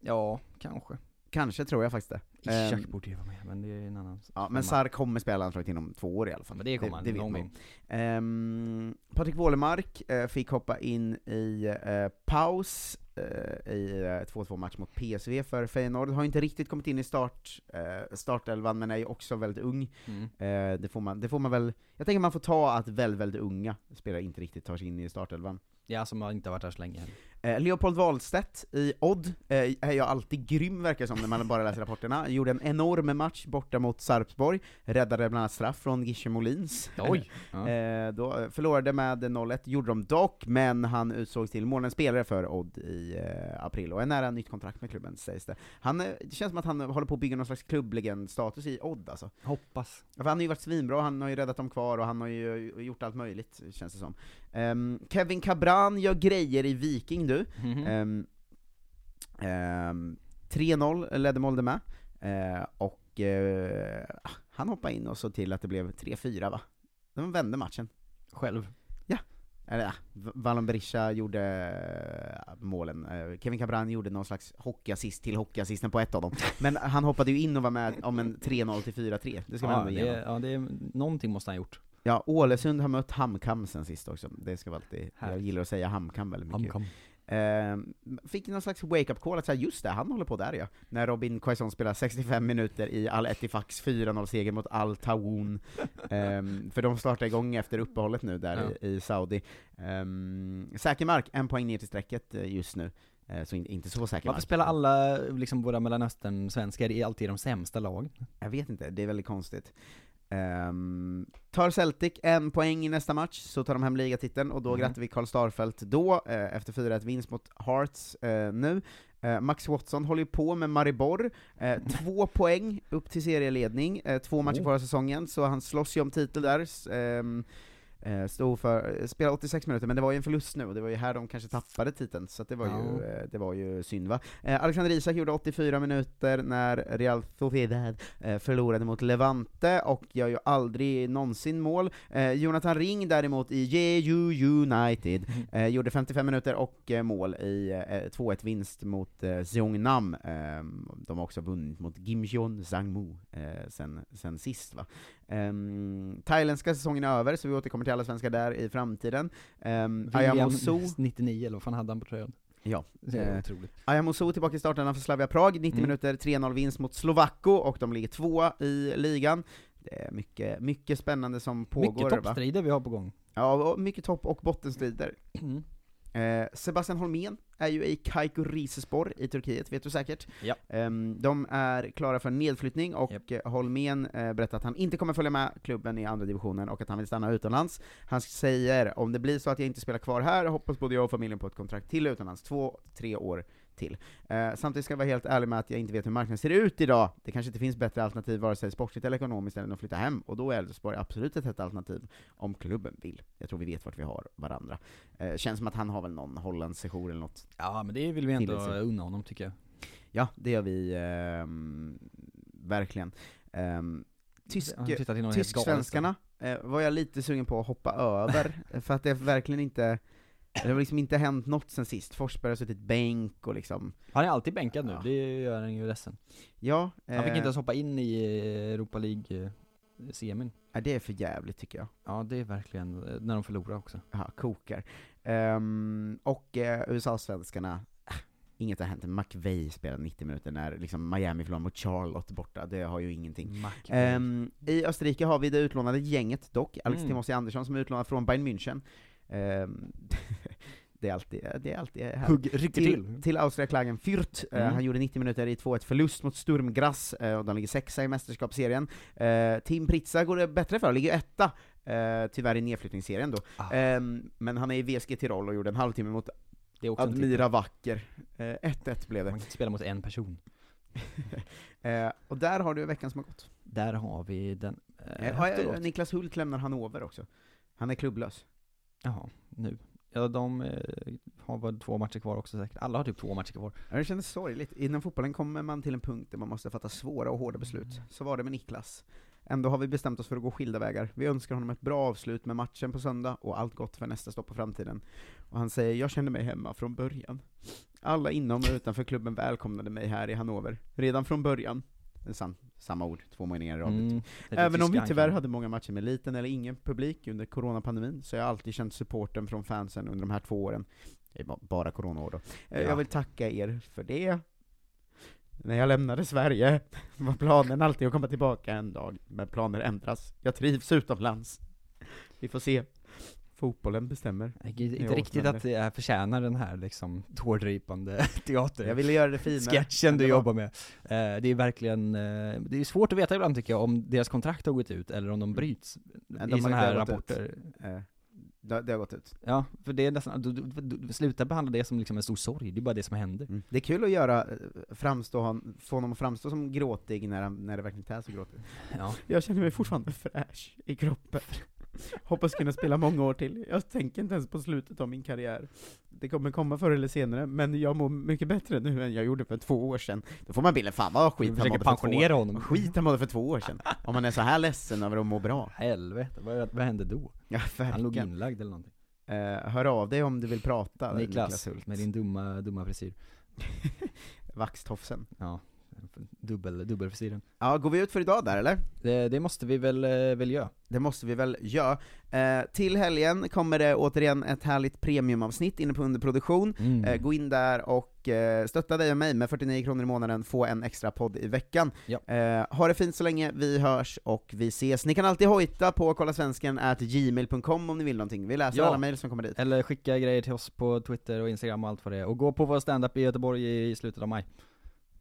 Ja, kanske. Kanske tror jag faktiskt det. Ehm, Ishak borde ju vara med, men det är en annan Ja, men Sarr kommer spela landslaget inom två år i alla fall. Men det kommer han någon man ju. gång. Ehm, Patrik Wålemark eh, fick hoppa in i eh, paus eh, i eh, 2-2 match mot PSV för Feyenoord. Har inte riktigt kommit in i start, eh, startelvan, men är ju också väldigt ung. Mm. Eh, det, får man, det får man väl, jag tänker man får ta att väldigt, väldigt unga spelare inte riktigt tar sig in i startelvan. Ja, som har inte varit här så länge. Eh, Leopold Wahlstedt i Odd eh, är jag alltid grym verkar det som när man bara läser rapporterna. Gjorde en enorm match borta mot Sarpsborg, räddade bland annat straff från Gische Molins. Ja. Eh, då eh, förlorade med 0-1, gjorde de dock, men han utsågs till målens spelare för Odd i eh, april, och är nära nytt kontrakt med klubben sägs det. Han, eh, det känns som att han håller på att bygga någon slags klubblegend-status i Odd alltså. Hoppas. Ja, För han har ju varit svinbra, han har ju räddat dem kvar och han har ju eh, gjort allt möjligt, känns det som. Ehm, Kevin Cabran gör grejer i Viking du. Mhm. Eh, Mm. Ehm, ehm, 3-0 ledde Molde med, Eh, och eh, han hoppade in och såg till att det blev 3-4 va? De vände matchen. Själv. Eller ja, V- Vallon Berisha gjorde eh, målen, Eh, Kevin Cabran gjorde någon slags hockeyassist till hockeyassisten på ett av dem. Men han hoppade ju in och var med om en 3-0 till 4-3, det ska man ja, ändå ge det, honom. ja, det är, någonting måste han ha gjort. Ja, Ålesund har mött Hamkam sen sist också, det ska vara alltid, jag Härligt. gillar att säga Hamkam väldigt mycket. Hamkam. Eh, fick någon slags wake-up call att säga just det, han håller på där ja. När Robin Quaison spelar 65 minuter i Al Ettifaks 4-0-seger mot Al Tawoon. Ehm, för de startar igång efter uppehållet nu där i, i Saudi. Ehm, säker mark, en poäng ner till strecket eh, just nu. Eh, så in, inte så säker Varför mark. spelar alla liksom våra mellanöstern-svenskar i alltid de sämsta lagen? Jag vet inte, det är väldigt konstigt. Ehm, tar Celtic en poäng i nästa match så tar de hem ligatiteln, och då Mhm. grattar vi Karl Starfelt då, eh, efter 4-1 vinst mot Hearts eh, nu. Eh, Max Watson håller ju på med Maribor, eh, två poäng upp till serieledning, eh, två matcher Oh. kvar av säsongen, så han slåss ju om titel där. S- ehm, eh, Stod för, spelade 86 minuter, men det var ju en förlust nu, och det var ju här de kanske tappade titeln, så att det, var ju, Ja. eh, det var ju synd va? Eh, Alexander Isak gjorde 84 minuter när Real Sociedad eh, förlorade mot Levante, och gör ju aldrig någonsin mål. Eh, Jonathan Ring däremot i Jeju United Mm. eh, gjorde 55 minuter och eh, mål i eh, 2-1-vinst mot eh, Seongnam. Eh, de har också vunnit mot Gimcheon Sangmu eh, sen, sen sist va. Ehm, thailändska säsongen är över, så vi återkommer till alla svenskar där i framtiden. Um, William Ayamoso, 99 eller vad fan hade han på tröjan? ja. Det är Eh, otroligt. Ayamoso tillbaka i starten för Slavia Prag, 90 Mm. minuter, 3-0 vinst mot Slovakko, och de ligger tvåa i ligan. Det är mycket, mycket spännande som pågår. Mycket va? toppstrider vi har på gång. Ja, och mycket topp och bottenstrider. Mm. Eh, Sebastian Holmén är ju i Kaiku Rizespor i Turkiet, vet du säkert. Ja. Ehm, de är klara för nedflyttning, och Japp. eh, Holmén eh, berättar att han inte kommer följa med klubben i andra divisionen, och att han vill stanna utomlands. Han säger, om det blir så att jag inte spelar kvar här, hoppas både jag och familjen på ett kontrakt till utomlands, två, tre år till. Eh, samtidigt ska jag vara helt ärlig med att jag inte vet hur marknaden ser ut idag. Det kanske inte finns bättre alternativ vare sig sportsligt eller ekonomiskt än att flytta hem, och då är Elfsborg absolut ett hett alternativ om klubben vill. Jag tror vi vet vart vi har varandra. Eh, känns som att han har väl någon Hollands session eller något. Ja men det vill vi ändå Till sig. unna honom tycker jag. Ja, det gör vi ehm, verkligen. Ehm, tysk, Han tittar till någon helt galet. Tysk-svenskarna eh, var jag lite sugen på att hoppa över, för att det är verkligen inte det har liksom inte hänt något sen sist. Forsberg har suttit bänk och liksom, Han är alltid bänkad nu, Ja. det gör han ju ledsen. ja. Han fick eh, inte ens hoppa in i eh, Europa eh, League-semin. nej, det är för jävligt tycker jag. Ja det är verkligen, eh, när de förlorar också. Aha, kokar. Ehm, och eh, USA-svenskarna, ah, inget har hänt. McVeigh spelade 90 minuter när liksom, Miami förlorade mot Charlotte borta, det har ju ingenting. Mack. Ehm, I Österrike har vi det utlånade gänget dock, Alex Mm. Timossi Andersson som är utlånad från Bayern München. Ehm, det är alltid, det är alltid härligt. Hugg, rycker Till, till. till Austria Klagen Fürth, Eh, Mm. han gjorde 90 minuter i 2-1 förlust mot Sturm Graz, eh, och de ligger sexa i mästerskapsserien. Eh, Tim Pritsa går det bättre för, ligger etta, eh, tyvärr i nedflyttningsserien då. Ah. Ehm, men han är i VSG Tirol och gjorde en halvtimme mot Det är också en titel. Admira Wacker. Eh, 1-1 blev Man det. kan inte spela mot en person. Eh, och där har du veckan som har gått. Där har vi den. Eh, Eh, har efteråt. jag, Niklas Hult lämnar Hannover också. Han är klubblös. Jaha, nu. Ja, de eh, har väl två matcher kvar också säkert. Alla har typ två matcher kvar. Ja, Det kändes sorgligt. Inom fotbollen kommer man till en punkt där man måste fatta svåra och hårda beslut. Så var det med Niklas. Ändå har vi bestämt oss för att gå skilda vägar. Vi önskar honom ett bra avslut med matchen på söndag och allt gott för nästa stopp på framtiden. Och han säger, jag kände mig hemma från början. Alla inom och utanför klubben välkomnade mig här i Hannover. Redan från början. Det är sant. Samma ord, två meningar i rad. Det är det Även om vi tyska tyvärr anklagelsen. hade många matcher med liten eller ingen publik under coronapandemin, så har jag alltid känt supporten från fansen under de här två åren. Det är ba- bara coronaår då. Eh, Ja. Jag vill tacka er för det. När jag lämnade Sverige var planen alltid att komma tillbaka en dag, men planer ändras. Jag trivs utomlands. Vi får se. Fotbollen bestämmer. Nej, gud, Jag Inte riktigt återvänder. att det är förtjänar den här liksom tårdrypande teater. Jag ville göra det finare. sketchen du Det var- jobbar med. Eh, det är verkligen, eh, det är svårt att veta ibland tycker jag om deras kontrakt har gått ut eller om de bryts Nej, Mm. de har i sådana inte här gått ut. rapporter. Eh, Det, det har gått ut. Ja, för det är nästan, du, du, du, sluta behandla det som liksom en stor sorg, det är bara det som händer. Mm. Det är kul att göra, eh, framstå, han- få honom att framstå som gråtig när, han, när det verkligen inte är så gråtigt. Ja. Jag känner mig fortfarande fräsch i kroppen. Hoppas kunna spela många år till. Jag tänker inte ens på slutet av min karriär. Det kommer komma förr eller senare, men jag mår mycket bättre nu än jag gjorde för två år sedan. Då får man bilden, fan vad skit Vi han försöker mådde för två, pensionera honom. vad skit han mådde för två år sedan. Om man är så här ledsen över att må bra. Helvete, vad, vad hände då? Ja, Han låg verkligen. inlagd eller någonting. Eh, hör av dig om du vill prata, Niklas, Hult. med din dumma, dumma frisyr. Vaxtofsen. Ja, dubbel, dubbelfrisyren. Ja, går vi ut för idag där eller? Det, det måste vi väl, eh, väl göra. Det måste vi väl göra. Eh, till helgen kommer det återigen ett härligt premiumavsnitt inne på underproduktion. Mm. Eh, gå in där och eh, stötta dig och mig med 49 kronor i månaden, få en extra podd i veckan. Ja. Eh, ha det fint så länge, vi hörs och vi ses. Ni kan alltid hojta på kollasvensken@gmail.com om ni vill någonting, vi läser Ja. alla mejl som kommer dit. Eller skicka grejer till oss på Twitter och Instagram och allt vad det är. Och gå på vår standup i Göteborg i, i slutet av maj.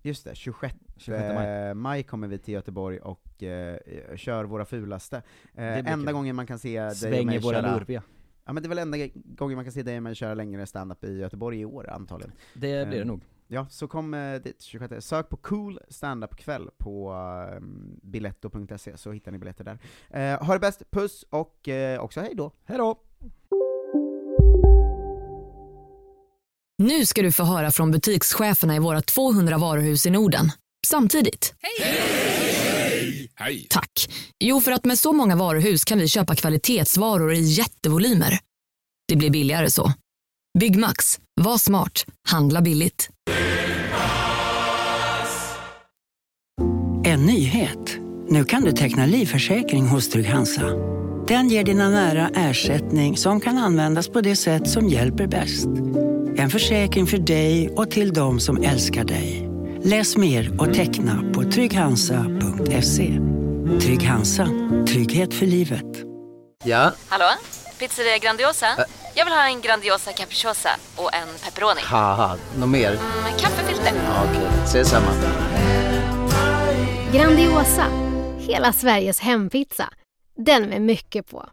Just det, 26, 26 maj. eh, maj kommer vi till Göteborg och eh, kör våra fulaste. Eh, blir enda kul. gången man kan se dig och Svänger mig våra köra... lurviga. Ja men det är väl enda gången man kan se dig och mig köra längre standup i Göteborg i år antagligen. Det blir det Eh, nog. Ja, så kom eh, dit 26. Sök på cool standup kväll på eh, biletto.se så hittar ni biljetter där. Eh, ha det bäst, puss och eh, också hej då. Hej då! Nu ska du få höra från butikscheferna i våra 200 varuhus i Norden. Samtidigt. Hej! Tack. Jo, för att med så många varuhus kan vi köpa kvalitetsvaror i jättevolymer. Det blir billigare så. Byggmax. Var smart. Handla billigt. En nyhet. Nu kan du teckna livförsäkring hos Trygg-Hansa. Den ger dina nära ersättning som kan användas på det sätt som hjälper bäst. En försäkring för dig och till de som älskar dig. Läs mer och teckna på trygghansa.se. Trygg-Hansa. Trygghet för livet. Ja, Hallå? Pizzeria Grandiosa? Jag vill ha en Grandiosa capriciosa och en pepperoni. haha, något mer? Med kaffefilter. Ja, Okej, ses samma. Grandiosa, hela Sveriges hempizza. Den med mycket på.